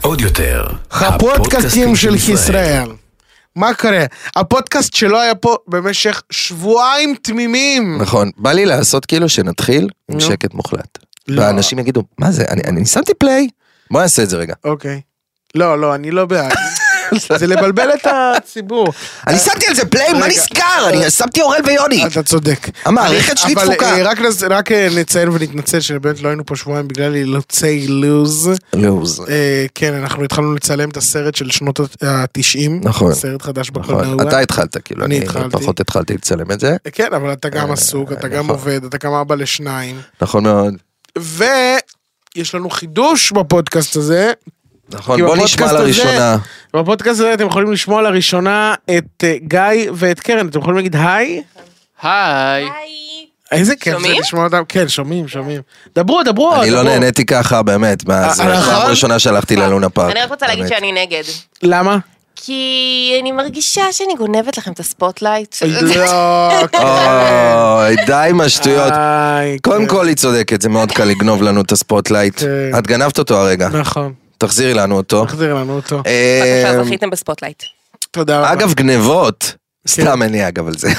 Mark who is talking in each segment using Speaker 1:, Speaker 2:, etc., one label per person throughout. Speaker 1: עוד יותר,
Speaker 2: הפודקאסטים של ישראל. מה קורה? הפודקאסט שלא היה פה במשך שבועיים תמימים.
Speaker 3: נכון, בא לי לעשות כאילו שנתחיל עם
Speaker 2: נו.
Speaker 3: שקט מוחלט.
Speaker 2: לא.
Speaker 3: ואנשים יגידו, מה זה, אני- אני שמתי פליי, בוא נעשה את זה רגע.
Speaker 2: אוקיי. לא, לא, אני לא בעד. זה לבלבל את הציבור.
Speaker 3: אני שמתי על זה פליי, מה
Speaker 2: רגע.
Speaker 3: נסגר? אני שמתי אורל ויוני.
Speaker 2: אתה צודק.
Speaker 3: המערכת שלי
Speaker 2: אבל,
Speaker 3: דפוקה.
Speaker 2: אה, רק נז- רק אה, נציין ונתנצל שבאמת לא היינו פה שבועיים בגלל אילוצי לוז.
Speaker 3: לוז.
Speaker 2: אה, כן, אנחנו התחלנו לצלם את הסרט של שנות ה-90.
Speaker 3: נכון.
Speaker 2: סרט חדש
Speaker 3: נכון,
Speaker 2: בקולנוע.
Speaker 3: אתה התחלת כאילו,
Speaker 2: אני
Speaker 3: אני
Speaker 2: התחלתי.
Speaker 3: פחות התחלתי לצלם את זה.
Speaker 2: כן, אבל אתה גם
Speaker 3: אה,
Speaker 2: עסוק, אתה גם
Speaker 3: נכון.
Speaker 2: עובד, אתה גם אבא לשניים.
Speaker 3: נכון מאוד.
Speaker 2: ויש לנו חידוש בפודקאסט הזה.
Speaker 3: נכון,
Speaker 2: כי
Speaker 3: בוא
Speaker 2: בפודקאסט
Speaker 3: נשמע
Speaker 2: הזה-
Speaker 3: לראשונה.
Speaker 2: בפודקאסט הזה אתם יכולים לשמוע לראשונה את אה, גיא ואת קרן, אתם יכולים להגיד היי?
Speaker 4: היי.
Speaker 2: איזה כיף זה
Speaker 5: שומעים?
Speaker 2: לשמוע אותם, כן, שומעים, שומעים. דברו, דברו.
Speaker 3: אני לא
Speaker 2: דברו.
Speaker 3: נהניתי ככה, באמת, מה זה,
Speaker 2: אה,
Speaker 3: פעם
Speaker 2: נכון?
Speaker 3: ראשונה שהלכתי ללונה פארק.
Speaker 5: אני רק רוצה להגיד
Speaker 3: אה, באמת.
Speaker 5: שאני נגד.
Speaker 2: למה?
Speaker 5: כי אני מרגישה שאני גונבת לכם את הספוטלייט.
Speaker 3: אה,
Speaker 2: לא,
Speaker 3: אוי, די עם השטויות.
Speaker 2: איי,
Speaker 3: קודם
Speaker 2: כן,
Speaker 3: כל היא צודקת, זה מאוד קל לגנוב לנו את הספוטלייט.
Speaker 2: כן.
Speaker 3: את גנבת אותו הרגע,
Speaker 2: נכון,
Speaker 3: תחזירי לנו אותו.
Speaker 2: תחזיר לנו אותו.
Speaker 3: אה,
Speaker 5: בבקשה, זכיתם בספוטלייט.
Speaker 2: תודה רבה.
Speaker 3: אגב, גנבות.
Speaker 2: כן.
Speaker 3: סתם אין לי אגב על זה.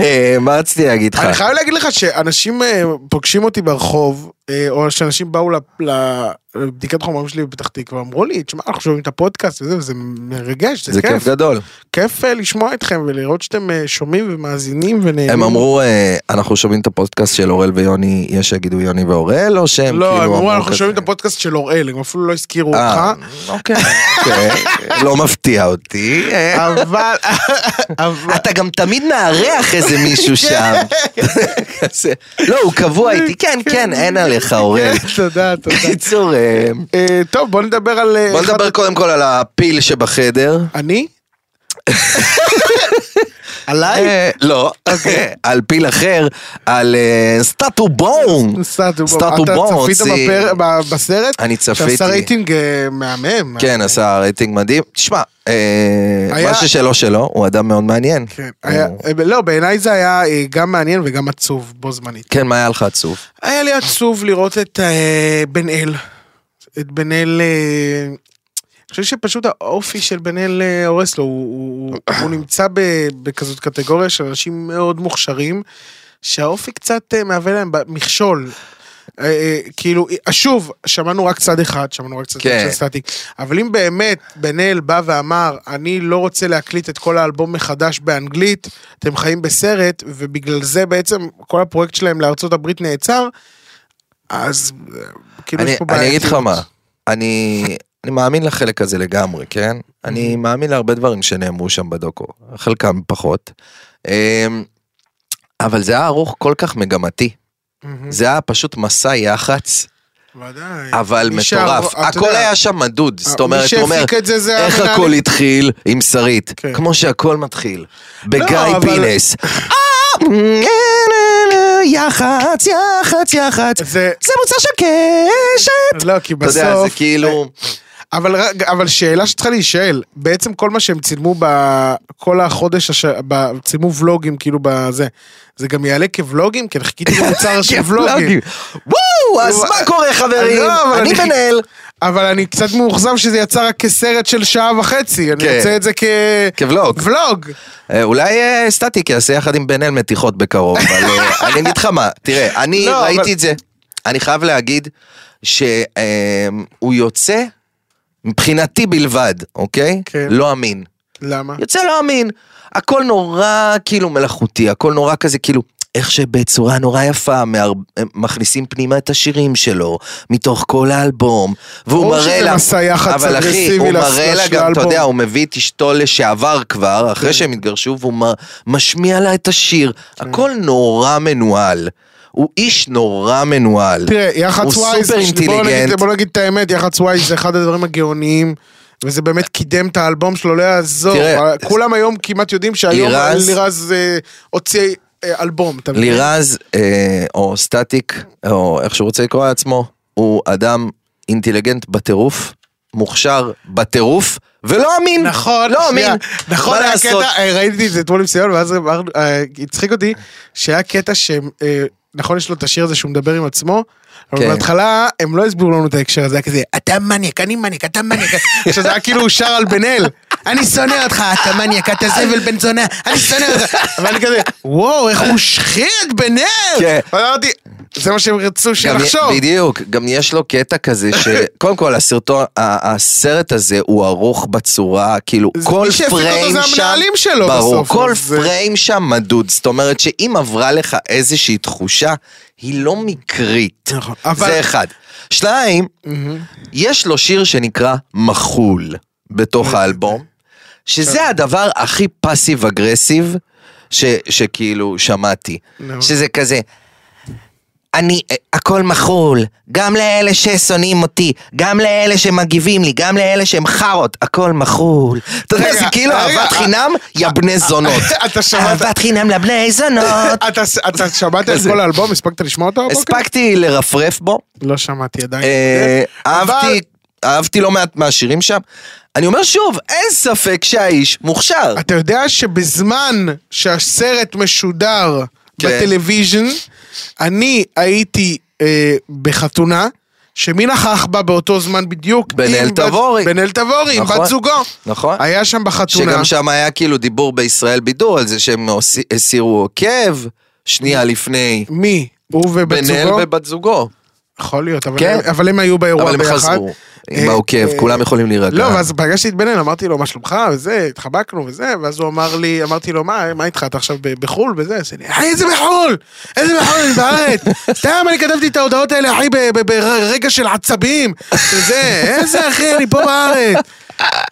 Speaker 3: אה, מה רציתי להגיד לך?
Speaker 2: אני חייב להגיד לך שאנשים אה, פוגשים אותי ברחוב, אה, או שאנשים באו לפ- ל- לבדיקת חומרים שלי בפתח תקווה, אמרו לי, תשמע, אנחנו שומעים את הפודקאסט וזה, וזה מרגש,
Speaker 3: זה כיף גדול.
Speaker 2: כיף אה, לשמוע אתכם ולראות שאתם אה, שומעים ומאזינים ונהנים.
Speaker 3: הם אמרו, אה, אנחנו שומעים את הפודקאסט של אורל ויוני, יש שיגידו יוני ואורל, או שהם כאילו
Speaker 2: לא, הם אמרו, אנחנו
Speaker 3: כזה?"
Speaker 2: שומעים את הפודקאסט של אוראל, הם אפילו לא הזכירו
Speaker 3: אה,
Speaker 2: אותך.
Speaker 3: אוקיי, אוקיי. לא מפתיע אותי. אה,
Speaker 2: אבל, אבל,
Speaker 3: אתה גם תמיד מארח איזה מישהו שם. כן, כזה, לא, הוא קבוע איתי, כן, כן, אין עליך אורל.
Speaker 2: תודה, תודה.
Speaker 3: קיצור, אה,
Speaker 2: אה, טוב, בוא נדבר על... אה,
Speaker 3: בוא
Speaker 2: אחד-
Speaker 3: נדבר קודם כל על הפיל שבחדר.
Speaker 2: אני? עליי?
Speaker 3: אה, לא, על פיל אחר, על אה, סטטו בון.
Speaker 2: סטטו בום.
Speaker 3: סטטו בום
Speaker 2: אתה צפית
Speaker 3: הוציא-
Speaker 2: בפר- ב- בסרט?
Speaker 3: אני צפיתי.
Speaker 2: שעשה רייטינג אה, מהמם.
Speaker 3: כן, עשה רייטינג מדהים. תשמע, אה,
Speaker 2: היה-
Speaker 3: מה ששלו שלו, הוא אדם מאוד מעניין.
Speaker 2: כן, היה- אה, לא, בעיניי זה היה אה, גם מעניין וגם עצוב בו זמנית.
Speaker 3: כן, מה היה לך עצוב?
Speaker 2: היה לי עצוב לראות את אה, בן אל. את בן אל... אה, אני חושב שפשוט האופי של בן אל אה, הורס לו, הוא, הוא, הוא נמצא ב, בכזאת קטגוריה של אנשים מאוד מוכשרים, שהאופי קצת אה, מהווה להם ב- מכשול. אה, אה, כאילו, אה, שוב, שמענו רק צד אחד, שמענו רק צד אחד
Speaker 3: כן.
Speaker 2: של סטטיק, אבל אם באמת בן אל בא ואמר, אני לא רוצה להקליט את כל האלבום מחדש באנגלית, אתם חיים בסרט, ובגלל זה בעצם כל הפרויקט שלהם לארצות הברית נעצר, אז אה, כאילו
Speaker 3: אני,
Speaker 2: יש פה בעיה.
Speaker 3: אני אגיד לך מה, אני, אני מאמין לחלק הזה לגמרי, כן? אני מאמין להרבה דברים שנאמרו שם בדוקו, חלקם פחות. אמ, אבל זה היה ערוך כל כך מגמתי, זה היה פשוט מסע יח"צ,
Speaker 2: ודאי.
Speaker 3: אבל
Speaker 2: מי שה-
Speaker 3: מטורף.
Speaker 2: אתה
Speaker 3: הכל
Speaker 2: יודע, אה,
Speaker 3: היה שם מדוד, זאת אומרת, הוא
Speaker 2: מי
Speaker 3: אומר,
Speaker 2: שהפיק את זה זה
Speaker 3: איך
Speaker 2: המנהלים.
Speaker 3: הכל התחיל עם שרית,
Speaker 2: כן.
Speaker 3: כמו שהכל מתחיל, בגיא
Speaker 2: לא, אבל-
Speaker 3: פינס. אה, יח"צ, יח"צ, יח"צ,
Speaker 2: זה...
Speaker 3: זה מוצר של קשת.
Speaker 2: לא, כי
Speaker 3: אתה יודע, זה
Speaker 2: בסוף...
Speaker 3: כאילו...
Speaker 2: אבל רק- אבל שאלה שצריכה להישאל, בעצם כל מה שהם צילמו בכל החודש, הש- ב- צילמו ולוגים כאילו בזה, זה גם יעלה כוולוגים? כי אני חיכיתי למוצר של ולוגים.
Speaker 3: וואו, אז
Speaker 2: אה, וואו,
Speaker 3: מה קורה חברים?
Speaker 2: לא, אבל
Speaker 3: אני
Speaker 2: אני-
Speaker 3: מנהל.
Speaker 2: אבל אני קצת מאוכזב שזה יצא רק כסרט של שעה וחצי, אני
Speaker 3: כן.
Speaker 2: רוצה את זה כ...
Speaker 3: כבלוג.
Speaker 2: ולוג.
Speaker 3: אה, אולי אה, סטטיק יעשה יחד עם בן אל מתיחות בקרוב, אבל אה, אני אגיד לך מה, תראה, אני
Speaker 2: לא, אבל-
Speaker 3: ראיתי את זה, אני חייב להגיד שהוא יוצא מבחינתי בלבד, אוקיי?
Speaker 2: כן.
Speaker 3: לא אמין.
Speaker 2: למה?
Speaker 3: יוצא לא אמין. הכל נורא כאילו מלאכותי, הכל נורא כזה כאילו, איך שבצורה נורא יפה מהר... הם מכניסים פנימה את השירים שלו, מתוך כל האלבום, והוא
Speaker 2: ברור
Speaker 3: מראה
Speaker 2: שזה
Speaker 3: לה,
Speaker 2: מסע יח"צ
Speaker 3: אבל אחי,
Speaker 2: אגרסיבי
Speaker 3: הוא
Speaker 2: לס-
Speaker 3: מראה לה
Speaker 2: של
Speaker 3: גם, אתה
Speaker 2: האלבום.
Speaker 3: יודע, הוא מביא את אשתו לשעבר כבר,
Speaker 2: כן.
Speaker 3: אחרי שהם התגרשו, והוא מ... משמיע לה את השיר, הכל נורא מנוהל. הוא איש נורא מנוהל.
Speaker 2: תראה, יח"צ
Speaker 3: הוא
Speaker 2: וואי, זה-
Speaker 3: סופר
Speaker 2: בוא נגיד-
Speaker 3: אינטליגנט.
Speaker 2: בוא נגיד את האמת, יח"צ וואי זה אחד הדברים הגאוניים. וזה באמת קידם את האלבום שלו, לא יעזור.
Speaker 3: תראה,
Speaker 2: כולם היום כמעט יודעים שהיום
Speaker 3: לירז-
Speaker 2: לירז אה, הוציא אה, אלבום. אתה מבין?
Speaker 3: לירז, אה, או סטטיק, או איך שהוא רוצה לקרוא לעצמו, הוא אדם אינטליגנט בטירוף, מוכשר בטירוף, ולא אמין.
Speaker 2: נכון,
Speaker 3: לא
Speaker 2: שנייה.
Speaker 3: אמין.
Speaker 2: נכון,
Speaker 3: מה
Speaker 2: היה
Speaker 3: לעשות?
Speaker 2: קטע, אה, ראיתי את זה אתמול עם סיון, ואז אמרנו, אה, הצחיק אותי, שהיה קטע שהם אה, נכון יש לו את השיר הזה שהוא מדבר עם עצמו, אבל
Speaker 3: כן.
Speaker 2: בהתחלה הם לא הסבירו לנו את ההקשר הזה, היה כזה, אתה מניאק, אני מניאק, אתה מניאק. עכשיו זה היה כאילו הוא שר על בן אל, אני שונא אותך, אתה מניאק, אתה זבל בן זונה, אני שונא אותך. ואני כזה, וואו, איך הוא השחיר את בן אל!
Speaker 3: כן.
Speaker 2: ואמרתי, זה מה שהם רצו
Speaker 3: גם
Speaker 2: שנחשוב.
Speaker 3: בדיוק, גם יש לו קטע כזה ש... קודם כל, הסרטון, ה- הסרט הזה הוא ארוך בצורה, כאילו,
Speaker 2: זה-
Speaker 3: כל
Speaker 2: מי שהפיק אותו
Speaker 3: פריים
Speaker 2: זה
Speaker 3: שם...
Speaker 2: המנהלים שלו
Speaker 3: ברור,
Speaker 2: בסוף,
Speaker 3: כל
Speaker 2: אז זה-
Speaker 3: פריים שם מדוד. זאת אומרת שאם עברה לך איזושהי תחושה, היא לא מקרית.
Speaker 2: נכון, אבל-
Speaker 3: זה אחד. שתיים, יש לו שיר שנקרא מחול בתוך
Speaker 2: אה,
Speaker 3: האלבום,
Speaker 2: כן.
Speaker 3: שזה הדבר הכי פאסיב אגרסיב ש- שכאילו שמעתי.
Speaker 2: נו.
Speaker 3: שזה כזה, אני, אה, הכל מחול, גם לאלה ששונאים אותי, גם לאלה שמגיבים לי, גם לאלה שהם חארות, הכל מחול. אתה יודע,
Speaker 2: רגע,
Speaker 3: זה כאילו
Speaker 2: רגע,
Speaker 3: אהבת
Speaker 2: אה,
Speaker 3: חינם, יא בני זונות.
Speaker 2: אתה שמעת, אוקיי.
Speaker 3: אהבת חינם לבני זונות.
Speaker 2: אתה- אתה שמעת את
Speaker 3: כזה.
Speaker 2: כל האלבום? הספקת לשמוע אותו? הבוקר?
Speaker 3: הספקתי לרפרף בו,
Speaker 2: לא שמעתי עדיין.
Speaker 3: אה,
Speaker 2: כן, אבל-
Speaker 3: אהבתי, אהבתי לא מעט מהשירים שם. אני אומר שוב, אין ספק שהאיש מוכשר.
Speaker 2: אתה יודע שבזמן שהסרט משודר
Speaker 3: כן.
Speaker 2: בטלוויז'ן, אני הייתי אה, בחתונה, שמי נכח בה באותו זמן בדיוק?
Speaker 3: בן
Speaker 2: עם
Speaker 3: אל
Speaker 2: בת-
Speaker 3: תבורי.
Speaker 2: בן אל תבורי, עם
Speaker 3: נכון.
Speaker 2: בת זוגו.
Speaker 3: נכון.
Speaker 2: היה שם בחתונה.
Speaker 3: שגם שם היה כאילו דיבור בישראל בידור על זה שהם הוסי- הסירו עוקב שנייה לפני
Speaker 2: מי? הוא ובת
Speaker 3: בן אל
Speaker 2: זוגו?
Speaker 3: ובת זוגו.
Speaker 2: יכול להיות, אבל
Speaker 3: כן.
Speaker 2: הם- אבל הם היו באירוע
Speaker 3: אבל הם
Speaker 2: ביחד.
Speaker 3: חזרו עם
Speaker 2: אה,
Speaker 3: העוקב,
Speaker 2: אה,
Speaker 3: כולם יכולים להירגע.
Speaker 2: לא, ואז פגשתי את בן אל, אמרתי לו, מה שלומך, וזה, התחבקנו וזה, ואז הוא אמר לי, אמרתי לו, מה, מה איתך, אתה עכשיו ב- בחו"ל וזה, אז אני, אחי, איזה בחו"ל, איזה בחו"ל, אני בארץ, סתם, אני כתבתי את ההודעות האלה, אחי, ב- ב- ברגע של עצבים, וזה, איזה אחי, אני פה בארץ.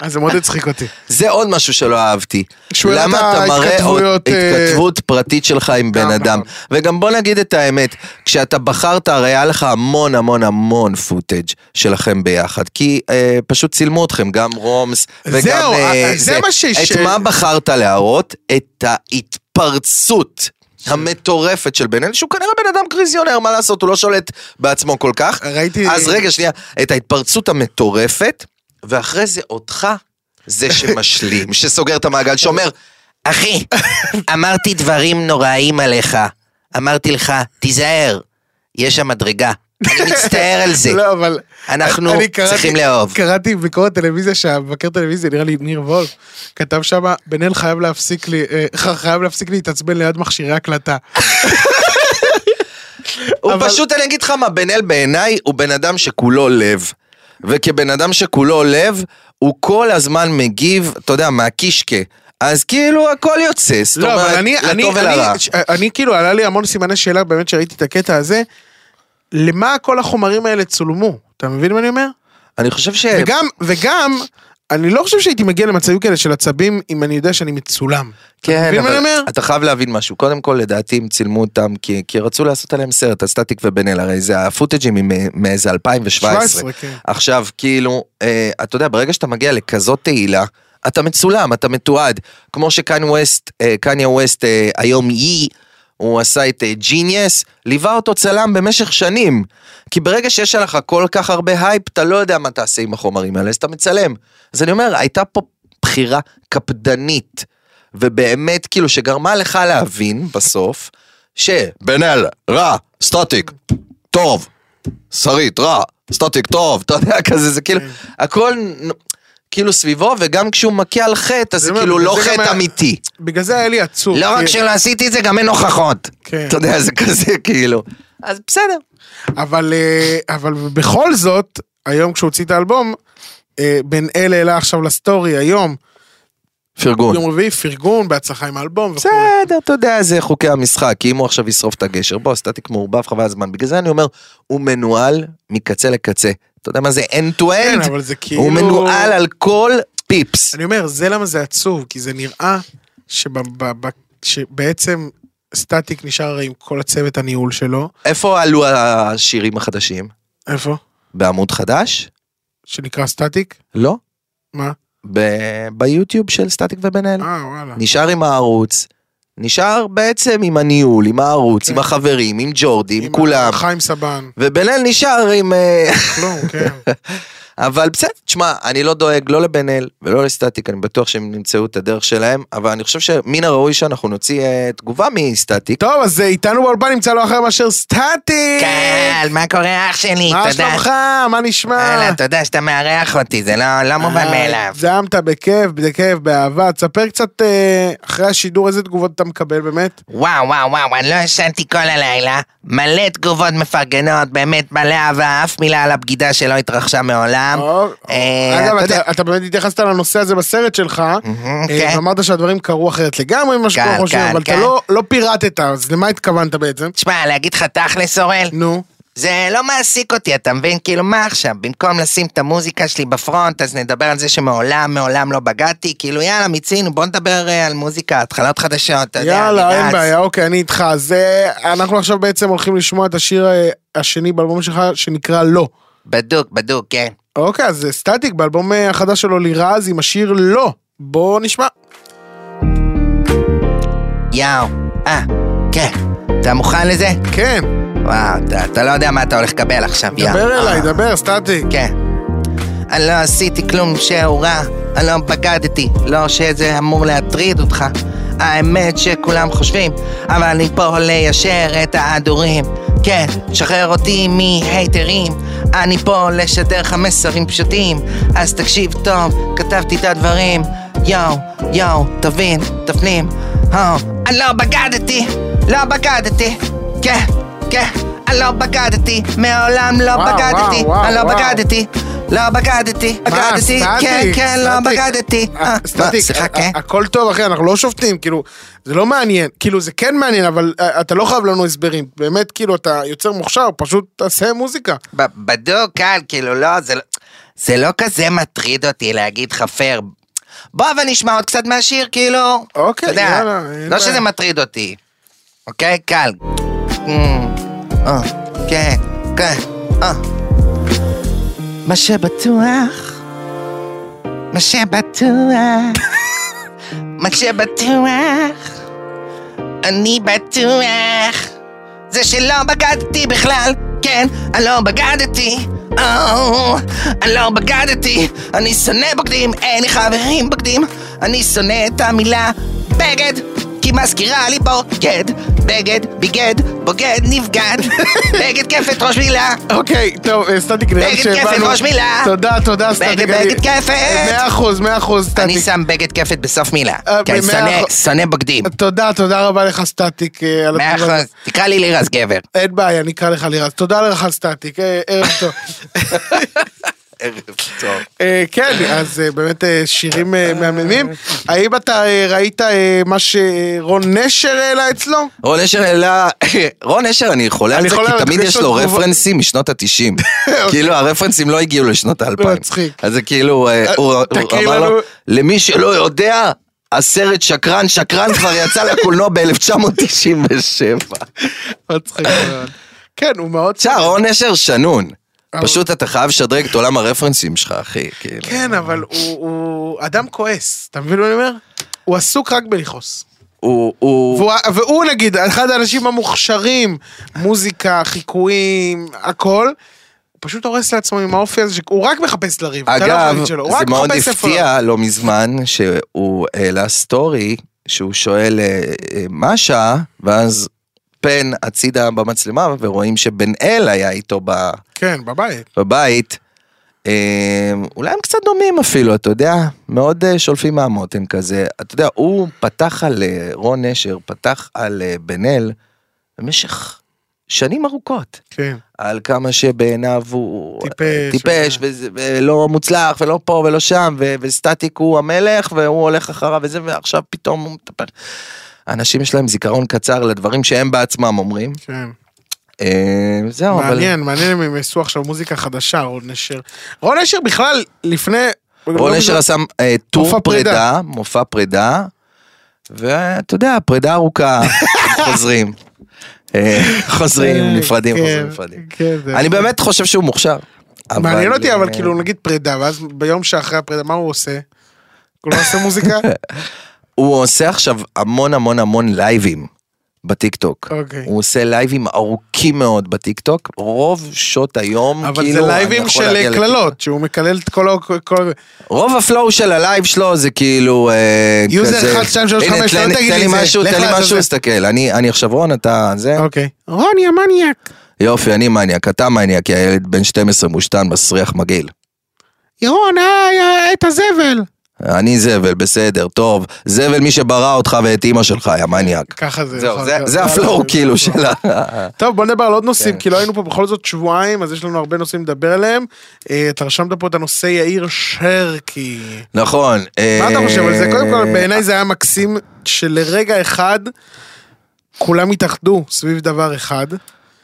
Speaker 2: אז זה מאוד הצחיק אותי.
Speaker 3: זה עוד משהו שלא אהבתי.
Speaker 2: שהוא העלה
Speaker 3: למה
Speaker 2: את
Speaker 3: אתה מראה עוד
Speaker 2: ההתכתבויות, אה,
Speaker 3: התכתבות פרטית שלך עם בן
Speaker 2: גם
Speaker 3: אדם?
Speaker 2: נכון.
Speaker 3: וגם בוא נגיד את האמת, כשאתה בחרת הרי היה לך המון המון המון פוטאג' שלכם ביחד, כי אה, פשוט צילמו אתכם, גם רומס וגם...
Speaker 2: זהו,
Speaker 3: אה,
Speaker 2: אה, זה מה ש-
Speaker 3: את
Speaker 2: ש-
Speaker 3: מה בחרת להראות? את ההתפרצות. המטורפת של בן אל, שהוא כנראה בן אדם קריזיונר, מה לעשות, הוא לא שולט בעצמו כל כך.
Speaker 2: ראיתי-
Speaker 3: אז רגע, שנייה, את ההתפרצות המטורפת, ואחרי זה אותך, זה שמשלים, שסוגר את המעגל, שאומר, אחי, אמרתי דברים נוראים עליך. אמרתי לך, תיזהר, יש שם מדרגה. אני מצטער על זה.
Speaker 2: לא, אבל...
Speaker 3: אנחנו
Speaker 2: אני קראתי-
Speaker 3: צריכים לאהוב.
Speaker 2: קראתי ביקורת טלוויזיה, שהמבקר טלוויזיה, נראה לי ניר וולף, כתב שם, בן אל חייב להפסיק לי- אה, ח- חייב להפסיק להתעצבן ליד מכשירי הקלטה.
Speaker 3: הוא
Speaker 2: אבל-
Speaker 3: פשוט, אני אגיד לך מה, בן אל בעיניי הוא בן אדם שכולו לב. וכבן אדם שכולו לב, הוא כל הזמן מגיב, אתה יודע, מהקישקה. אז כאילו הכל יוצא, זאת
Speaker 2: לא, אבל
Speaker 3: אומרת,
Speaker 2: אני, אני,
Speaker 3: לטוב ולרע.
Speaker 2: אני, ש- אני כאילו, עלה לי המון סימני שאלה באמת שראיתי את הקטע הזה, למה כל החומרים האלה צולמו? אתה מבין מה אני אומר?
Speaker 3: אני חושב ש...
Speaker 2: וגם, וגם, אני לא חושב שהייתי מגיע למצבים כאלה של עצבים אם אני יודע שאני מצולם. אתה
Speaker 3: כן,
Speaker 2: מבין מה אני
Speaker 3: אבל
Speaker 2: אומר?
Speaker 3: אתה חייב להבין משהו. קודם כל, לדעתי, הם צילמו אותם כי, כי רצו לעשות עליהם סרט, הסטטיק ובן אל, הרי זה הפוטג'ים הם מאיזה 2017.
Speaker 2: 17, כן.
Speaker 3: עכשיו, כאילו, אה, אתה יודע, ברגע שאתה מגיע לכזאת תהילה, אתה מצולם, אתה מתועד. כמו שקניה ווסט, אה, קניה ווסט אה, היום יי, הוא עשה את ג'יניאס, ליווה אותו צלם במשך שנים. כי ברגע שיש עליך כל כך הרבה הייפ, אתה לא יודע מה תעשה עם החומרים האלה, אז אתה מצלם. אז אני אומר, הייתה פה בחירה קפדנית, ובאמת, כאילו, שגרמה לך להבין בסוף, שבן אל, רע, סטטיק, טוב, שרית, רע, סטטיק, טוב, אתה יודע, כזה, זה כאילו,
Speaker 2: כן.
Speaker 3: הכל נ- כאילו סביבו, וגם כשהוא מכה על חטא, אז זה
Speaker 2: אומר,
Speaker 3: כאילו לא
Speaker 2: בגלל זה גם
Speaker 3: חטא
Speaker 2: היה-
Speaker 3: אמיתי.
Speaker 2: בגלל זה היה לי עצוב.
Speaker 3: לא רק
Speaker 2: כי-
Speaker 3: שלא עשיתי את זה, גם אין הוכחות.
Speaker 2: כן.
Speaker 3: אתה יודע, זה כזה, כאילו. אז בסדר.
Speaker 2: אבל, אה, אבל בכל זאת, היום כשהוא הוציא את האלבום, אה, בן אל העלה עכשיו לסטורי, היום,
Speaker 3: פרגון.
Speaker 2: יום רביעי, פרגון, בהצלחה עם האלבום וכו'.
Speaker 3: בסדר, אתה יודע, זה חוקי המשחק, כי אם הוא עכשיו ישרוף את הגשר, בוא, סטטיק מעורבב, חבל הזמן. בגלל זה אני אומר, הוא מנוהל מקצה לקצה. אתה יודע מה זה end to
Speaker 2: כן,
Speaker 3: end?
Speaker 2: אבל זה כאילו...
Speaker 3: הוא מנוהל על כל פיפס.
Speaker 2: אני אומר, זה למה זה עצוב, כי זה נראה שב- ב- ב- שבעצם סטטיק נשאר הרי עם כל הצוות הניהול שלו.
Speaker 3: איפה עלו השירים החדשים?
Speaker 2: איפה?
Speaker 3: בעמוד חדש?
Speaker 2: שנקרא סטטיק?
Speaker 3: לא.
Speaker 2: מה?
Speaker 3: ב- ביוטיוב של סטטיק ובן אל.
Speaker 2: אה, וואלה.
Speaker 3: נשאר עם הערוץ. נשאר בעצם עם הניהול, עם הערוץ,
Speaker 2: כן.
Speaker 3: עם החברים, עם ג'ורדי, עם
Speaker 2: עם
Speaker 3: כולם.
Speaker 2: חיים סבן.
Speaker 3: ובן אל נשאר עם... אה,
Speaker 2: כלום, כן.
Speaker 3: אבל בסדר, תשמע, אני לא דואג לא לבן אל ולא לסטטיק, אני בטוח שהם ימצאו את הדרך שלהם, אבל אני חושב שמן הראוי שאנחנו נוציא אה, תגובה מסטטיק.
Speaker 2: טוב, אז אה, איתנו באולפן נמצא לא אחר מאשר סטטיק!
Speaker 1: קהל, מה קורה אח שלי?
Speaker 2: מה
Speaker 1: תודה.
Speaker 2: שלומך? מה נשמע?
Speaker 1: וואלה, תודה שאתה מארח אותי, זה לא לא מובן מאליו.
Speaker 2: זעמת בכיף, בכיף, באהבה. תספר קצת אה, אחרי השידור איזה תגובות אתה מקבל באמת.
Speaker 1: וואו, וואו, וואו, אני לא ישנתי כל הלילה. מלא תגובות מפרגנות, באמת מלא אהבה, אף מילה על הבגידה שלא התרחשה מעולם.
Speaker 2: אור.
Speaker 1: אה,
Speaker 2: אגב,
Speaker 1: אתה
Speaker 2: אתה-
Speaker 1: יודע-
Speaker 2: אתה באמת התייחסת לנושא הזה בסרט שלך, אה,
Speaker 1: כן.
Speaker 2: ואמרת שהדברים קרו אחרת לגמרי ממה שכולם
Speaker 1: כן,
Speaker 2: חושבים,
Speaker 1: כן,
Speaker 2: אבל אתה
Speaker 1: כן.
Speaker 2: לא- לא פירטת, אז למה התכוונת בעצם?
Speaker 1: תשמע, להגיד לך תכלס, אורל?
Speaker 2: נו.
Speaker 1: זה לא מעסיק אותי, אתה מבין? כאילו, מה עכשיו? במקום לשים את המוזיקה שלי בפרונט, אז נדבר על זה שמעולם, מעולם לא בגדתי. כאילו, יאללה, מיצינו, בוא נדבר אה, על מוזיקה, התחלות חדשות, אתה יודע,
Speaker 2: יאללה,
Speaker 1: אני
Speaker 2: אין
Speaker 1: רץ.
Speaker 2: בעיה, אוקיי, אני איתך. אז אה, אנחנו עכשיו בעצם הולכים לשמוע את השיר אה, השני באלבום שלך, שנקרא לא.
Speaker 1: בדוק, בדוק, כן.
Speaker 2: אוקיי, אז אה, סטטיק באלבום אה, החדש שלו לירז עם השיר לא. בוא נשמע.
Speaker 1: יאו. אה, כן. אתה מוכן לזה?
Speaker 2: כן,
Speaker 1: וואו, אתה, אתה לא יודע מה אתה הולך לקבל עכשיו, יאו.
Speaker 2: דבר אליי,
Speaker 1: אה,
Speaker 2: דבר, סטטיק.
Speaker 1: כן. אני לא עשיתי כלום שהוא רע, אני לא בגדתי, לא שזה אמור להטריד אותך. האמת שכולם חושבים, אבל אני פה ליישר את ההדורים. כן, שחרר אותי מהייטרים, אני פה לשדר לך מסרים פשוטים. אז תקשיב טוב, כתבתי את הדברים. יואו, יואו, תבין, תפנים. אה, אני לא בגדתי, לא בגדתי. כן, כן, אני לא בגדתי, מעולם לא
Speaker 2: וואו,
Speaker 1: בגדתי,
Speaker 2: וואו, וואו,
Speaker 1: אני לא
Speaker 2: וואו.
Speaker 1: בגדתי, לא בגדתי,
Speaker 2: מה,
Speaker 1: בגדתי,
Speaker 2: סטטיק?
Speaker 1: כן, כן, לא
Speaker 2: סטטיק?
Speaker 1: בגדתי.
Speaker 2: אה,
Speaker 1: אה,
Speaker 2: סטטיק,
Speaker 1: מה, סליחה,
Speaker 2: ה-
Speaker 1: כן?
Speaker 2: ה- הכל טוב אחי, אנחנו לא שופטים, כאילו, זה לא מעניין, כאילו זה כן מעניין, אבל אה, אתה לא חייב לנו הסברים, באמת, כאילו, אתה יוצר מוכשר, פשוט תעשה מוזיקה.
Speaker 1: ב- בדוק, קל, כאילו, לא, זה לא... זה לא כזה מטריד אותי להגיד לך פייר. בוא אבל נשמע עוד קצת מהשיר, כאילו.
Speaker 2: אוקיי,
Speaker 1: אתה יודע,
Speaker 2: יאללה, אין
Speaker 1: לא
Speaker 2: בעיה.
Speaker 1: שזה מטריד אותי. אוקיי, קל. Mm, אה, כן, כן, אה. מה שבטוח, מה שבטוח, מה שבטוח, אני בטוח, זה שלא בגדתי בכלל, כן, אני לא בגדתי, או, אני לא בגדתי, אני שונא בוגדים, אין לי חברים בוגדים, אני שונא את המילה בגד, כי מזכירה לי בוגד, בגד, ביגד, בוגד, נבגד, בגד כפת ראש מילה,
Speaker 2: אוקיי, טוב, אה, סטטיק, נראה לי
Speaker 1: בגד כיפת,
Speaker 2: שהבנו.
Speaker 1: ראש מילה.
Speaker 2: תודה, תודה, סטטיק.
Speaker 1: בגד,
Speaker 2: אני-
Speaker 1: בגד כפת.
Speaker 2: מאה אחוז, מאה אחוז,
Speaker 1: אני
Speaker 2: סטטיק.
Speaker 1: שם בגד כפת בסוף מילה,
Speaker 2: אה,
Speaker 1: כי אני
Speaker 2: במאה
Speaker 1: שונא-
Speaker 2: אחוז.
Speaker 1: שונא בוגדים.
Speaker 2: תודה, תודה רבה לך, סטטיק, אה, על
Speaker 1: מאה
Speaker 2: התגובה.
Speaker 1: אחוז, תקרא לי לירז גבר.
Speaker 2: אין בעיה, אני אקרא לך לירז. תודה לך על סטטיק, אה, ערב טוב.
Speaker 3: ערב טוב.
Speaker 2: אה, כן, אז אה, באמת אה, שירים אה, מהממים. האם אתה אה, ראית אה, מה שרון נשר העלה אצלו?
Speaker 3: רון אשר העלה, רון אשר אני חולה
Speaker 2: אני
Speaker 3: על זה,
Speaker 2: חולה על
Speaker 3: כי
Speaker 2: זה,
Speaker 3: תמיד
Speaker 2: יש
Speaker 3: יש
Speaker 2: לו
Speaker 3: לו
Speaker 2: תגובה.
Speaker 3: רפרנסים משנות התשעים. כאילו הרפרנסים לא הגיעו לשנות האלפיים.
Speaker 2: מצחיק.
Speaker 3: אז זה כאילו, אה, הוא הוא
Speaker 2: תקריא
Speaker 3: אמר
Speaker 2: לנו.
Speaker 3: לו, למי שלא יודע, הסרט שקרן שקרן כבר יצא לקולנוע ב-1997.
Speaker 2: מצחיק מאוד. כן, הוא מאוד...
Speaker 3: תשמע, רון אשר שנון.
Speaker 2: אבל-
Speaker 3: פשוט אתה חייב לשדרג את עולם הרפרנסים שלך, אחי. כאילו.
Speaker 2: כן, אבל הוא- הוא אדם כועס, אתה מבין מה אני אומר? הוא עסוק רק בלכעוס.
Speaker 3: הוא- הוא...
Speaker 2: והוא, והוא נגיד, אחד האנשים המוכשרים, מוזיקה, חיקויים, הכל, הוא פשוט הורס לעצמו עם האופי הזה, שהוא רק מחפש לריב, אתה לא יכול
Speaker 3: אגב,
Speaker 2: להגיד שלא, הוא
Speaker 3: זה
Speaker 2: רק
Speaker 3: מאוד
Speaker 2: מחפש איפה לריב.
Speaker 3: הפתיע לא מזמן שהוא העלה סטורי שהוא שואל אה, אה, מה שעה, ואז פן הצידה במצלמה ורואים שבן אל היה איתו ב-
Speaker 2: כן, בבית.
Speaker 3: בבית. אה, אולי הם קצת דומים אפילו, אתה יודע, מאוד אה, שולפים מהמותן כזה. אתה יודע, הוא פתח על, אה, רון נשר פתח על אה, בן אל במשך שנים ארוכות.
Speaker 2: כן.
Speaker 3: על כמה שבעיניו הוא אה,
Speaker 2: טיפש, אה.
Speaker 3: טיפש וזה- ולא מוצלח ולא פה ולא שם ו- וסטטיק הוא המלך והוא הולך אחריו וזה ועכשיו פתאום הוא מטפל. אנשים יש להם זיכרון קצר לדברים שהם בעצמם אומרים.
Speaker 2: כן.
Speaker 3: אה, זהו, אבל...
Speaker 2: מעניין, מעניין אם הם יעשו עכשיו מוזיקה חדשה, רון נשר. רון נשר בכלל, לפני...
Speaker 3: רון
Speaker 2: לא
Speaker 3: אשר
Speaker 2: מזמן-
Speaker 3: עשה אה,
Speaker 2: מופע
Speaker 3: טור
Speaker 2: פרידה.
Speaker 3: פרידה, מופע פרידה, ואתה יודע, פרידה ארוכה, חוזרים. אה, חוזרים,
Speaker 2: כן,
Speaker 3: נפרדים,
Speaker 2: כן,
Speaker 3: חוזרים, נפרדים.
Speaker 2: כן, זה-
Speaker 3: אני באמת חושב שהוא מוכשר. אבל-
Speaker 2: מעניין אותי, אבל
Speaker 3: אה,
Speaker 2: כאילו נגיד פרידה, ואז ביום שאחרי הפרידה, מה הוא עושה? הוא לא עושה מוזיקה?
Speaker 3: הוא עושה עכשיו המון המון המון לייבים. בטיקטוק.
Speaker 2: אוקיי.
Speaker 3: הוא עושה לייבים ארוכים מאוד בטיקטוק, רוב שעות היום,
Speaker 2: אבל
Speaker 3: כאילו,
Speaker 2: זה
Speaker 3: אני
Speaker 2: לייבים
Speaker 3: יכול
Speaker 2: של
Speaker 3: להגיע לטיקטוק.
Speaker 2: קללות, שהוא מקלל את כל ה... כל-
Speaker 3: רוב הפלואו של הלייב שלו זה כאילו אה,
Speaker 2: יוזר
Speaker 3: כזה...
Speaker 2: 1, 2, 3,
Speaker 3: הנה,
Speaker 2: 5, לא
Speaker 3: תן-
Speaker 2: תגיד לי
Speaker 3: תן לי
Speaker 2: את זה.
Speaker 3: משהו,
Speaker 2: לך
Speaker 3: תן לי
Speaker 2: לעזאזל.
Speaker 3: משהו, תסתכל. אני אני עכשיו רון, אתה זה?
Speaker 2: אוקיי. רוני המניאק.
Speaker 3: יופי, אני מניאק, אתה מניאק, יא ילד בן 12 מושתן, מסריח מגעיל.
Speaker 2: ירון, אה, אה, את הזבל.
Speaker 3: אני זבל, בסדר, טוב. זבל מי שברא אותך ואת אימא שלך, יא מניאק.
Speaker 2: ככה זה.
Speaker 3: זהו,
Speaker 2: נכון,
Speaker 3: זה-
Speaker 2: ככה.
Speaker 3: זה הפלואו כאילו של כן. ה...
Speaker 2: טוב, בוא נדבר על עוד נושאים, כי לא היינו פה בכל זאת שבועיים, אז יש לנו הרבה נושאים לדבר עליהם. אה, אתה רשמת פה את הנושא יאיר שרקי.
Speaker 3: נכון.
Speaker 2: מה אתה חושב על זה? קודם
Speaker 3: אה,
Speaker 2: כל, בעיניי זה היה מקסים שלרגע אחד כולם התאחדו סביב דבר אחד.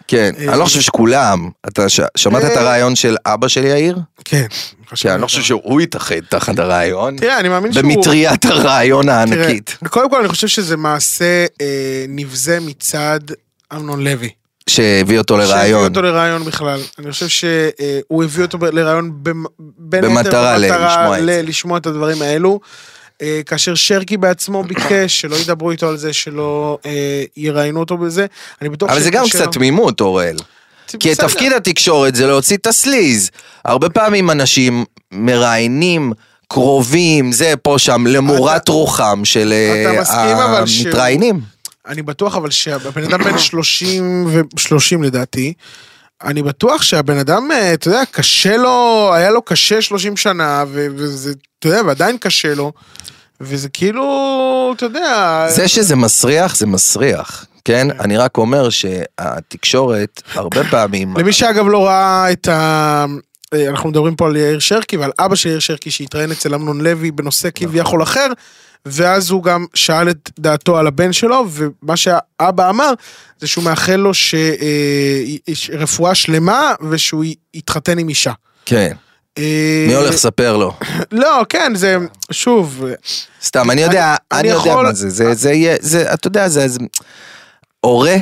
Speaker 3: כן, אני לא חושב שכולם. אתה ש- שמעת את
Speaker 2: אה.
Speaker 3: הרעיון של אבא של יאיר?
Speaker 2: כן.
Speaker 3: כן, אני לא חושב שהוא התאחד תחת הרעיון.
Speaker 2: תראה, אני מאמין שהוא...
Speaker 3: במטריית הרעיון
Speaker 2: תראה,
Speaker 3: הענקית.
Speaker 2: קודם כל, אני חושב שזה מעשה אה, נבזה מצד אמנון לוי.
Speaker 3: שהביא אותו
Speaker 2: שהביא
Speaker 3: לרעיון.
Speaker 2: אותו לרעיון בכלל. אני חושב שהוא הביא אותו לרעיון במ- בין היתר
Speaker 3: במטרה ל- לשמוע את
Speaker 2: ל-
Speaker 3: זה.
Speaker 2: לשמוע את הדברים האלו. אה, כאשר שרקי בעצמו ביקש שלא ידברו איתו על זה, שלא אה, יראיינו אותו בזה. אני בטוח
Speaker 3: אבל זה גם
Speaker 2: שכאשר-
Speaker 3: קצת תמימות, אוראל. כי
Speaker 2: בסדר.
Speaker 3: תפקיד התקשורת זה להוציא את הסליז. הרבה פעמים אנשים מראיינים קרובים, זה פה שם, למורת רוחם של
Speaker 2: אתה
Speaker 3: אה,
Speaker 2: מסכים אבל שהוא-
Speaker 3: המתראיינים.
Speaker 2: אני בטוח אבל שהבן אדם בן 30 ו... 30 לדעתי, אני בטוח שהבן אדם, אה, אתה יודע, קשה לו, היה לו קשה 30 שנה, ו- וזה, אתה יודע, ועדיין קשה לו, וזה כאילו, אתה יודע...
Speaker 3: זה שזה מסריח, זה מסריח. כן? אני רק אומר שהתקשורת, הרבה פעמים...
Speaker 2: למי שאגב לא ראה את ה... אה, אנחנו מדברים פה על יאיר שרקי ועל אבא של יאיר שרקי שהתראיין אצל אמנון לוי בנושא
Speaker 3: נכון.
Speaker 2: כביכול אחר, ואז הוא גם שאל את דעתו על הבן שלו, ומה שהאבא אמר זה שהוא מאחל לו ש... אה, ש- רפואה שלמה ושהוא י- יתחתן עם אישה.
Speaker 3: כן,
Speaker 2: אה,
Speaker 3: מי הולך לספר לו?
Speaker 2: לא, כן, זה... שוב,
Speaker 3: סתם, אני יודע,
Speaker 2: אני-
Speaker 3: אני
Speaker 2: אני
Speaker 3: יודע
Speaker 2: יכול-
Speaker 3: מה זה, זה- זה יהיה, זה- אתה יודע, זה... זה- הורה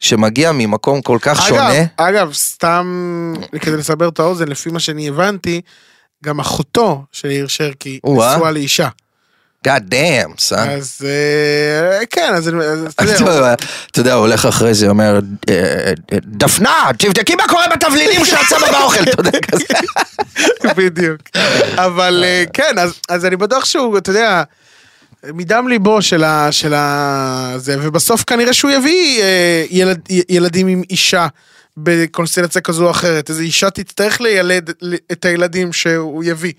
Speaker 3: שמגיע ממקום כל כך שונה,
Speaker 2: אגב, אגב, סתם כדי לסבר את האוזן, לפי מה שאני הבנתי, גם אחותו של יאיר שרקי
Speaker 3: או-אה.
Speaker 2: נשואה לאישה.
Speaker 3: God damn, son.
Speaker 2: אז אה, כן, אז אני- אז אתה יודע,
Speaker 3: אתה אתה יודע, הוא הולך אחרי זה, אומר, "אה, אה, אה, דפנה, תבדקי מה קורה בתבלינים שאת שמה באוכל, אתה יודע, כזה.
Speaker 2: בדיוק. אבל אה, כן, אז- אז אני בטוח שהוא, אתה יודע, מדם ליבו של ה... של ה... זה, ובסוף כנראה שהוא יביא אה, ילד- י- ילדים עם אישה. בקונסטלציה כזו או אחרת, איזו אישה תצטרך לילד ל- את הילדים שהוא יביא.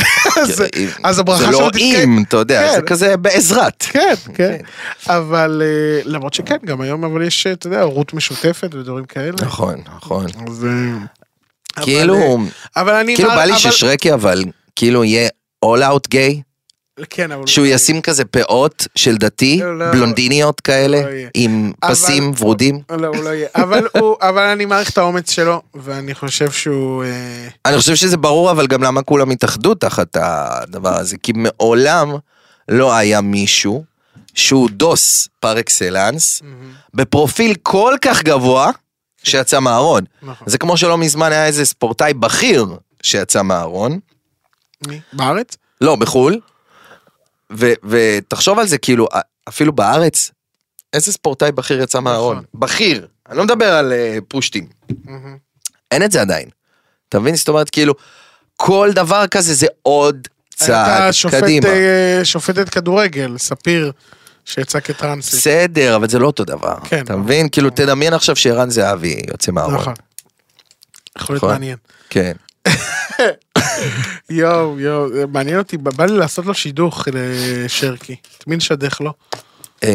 Speaker 2: אז- אז הברכה
Speaker 3: זה
Speaker 2: שלו
Speaker 3: לא
Speaker 2: תתקיים.
Speaker 3: אם, אתה יודע, זה
Speaker 2: כן.
Speaker 3: כזה בעזרת.
Speaker 2: כן, כן. אבל אה, למרות שכן, גם היום אבל יש, אה, אתה יודע, הורות משותפת ודברים כאלה.
Speaker 3: נכון, נכון.
Speaker 2: אז, אה, אבל,
Speaker 3: כאילו,
Speaker 2: אה, אבל אני...
Speaker 3: כאילו
Speaker 2: אבל-
Speaker 3: בא לי
Speaker 2: אבל-
Speaker 3: ששרקי, אבל כאילו יהיה all out גיי,
Speaker 2: כן, אבל...
Speaker 3: שהוא ישים כזה פאות של דתי,
Speaker 2: לא, לא.
Speaker 3: בלונדיניות כאלה,
Speaker 2: לא יהיה.
Speaker 3: עם
Speaker 2: אבל-
Speaker 3: פסים ורודים.
Speaker 2: לא, הוא לא יהיה. אבל הוא... אבל אני מעריך את האומץ שלו, ואני חושב שהוא... אה,
Speaker 3: אני חושב שזה ברור, אבל גם למה כולם התאחדו תחת הדבר הזה, כי מעולם לא היה מישהו שהוא דוס פר אקסלנס, בפרופיל כל כך גבוה, שיצא מהארון.
Speaker 2: נכון.
Speaker 3: זה כמו שלא מזמן היה איזה ספורטאי בכיר שיצא מהארון,
Speaker 2: מי? בארץ?
Speaker 3: לא, בחו"ל, ו- ותחשוב על זה, כאילו, אפילו בארץ, איזה ספורטאי בכיר יצא מהארון?
Speaker 2: נכון.
Speaker 3: בכיר, אני לא מדבר על אה, פושטים.
Speaker 2: מהמם.
Speaker 3: אין את זה עדיין. אתה מבין? זאת אומרת, כאילו, כל דבר כזה זה עוד
Speaker 2: הייתה
Speaker 3: צעד
Speaker 2: שופט,
Speaker 3: קדימה.
Speaker 2: אה, שופטת כדורגל, ספיר, שיצא כטרנסית.
Speaker 3: בסדר, אבל זה לא אותו דבר.
Speaker 2: כן.
Speaker 3: אתה מבין? כאילו, תדמיין עכשיו שערן זהבי יוצא מהארון.
Speaker 2: נכון. יכול להיות
Speaker 3: נכון.
Speaker 2: מעניין.
Speaker 3: כן.
Speaker 2: יואו, יואו, זה מעניין אותי, בא לי לעשות לו שידוך לשרקי. את מי נשדך לו?
Speaker 3: אמ,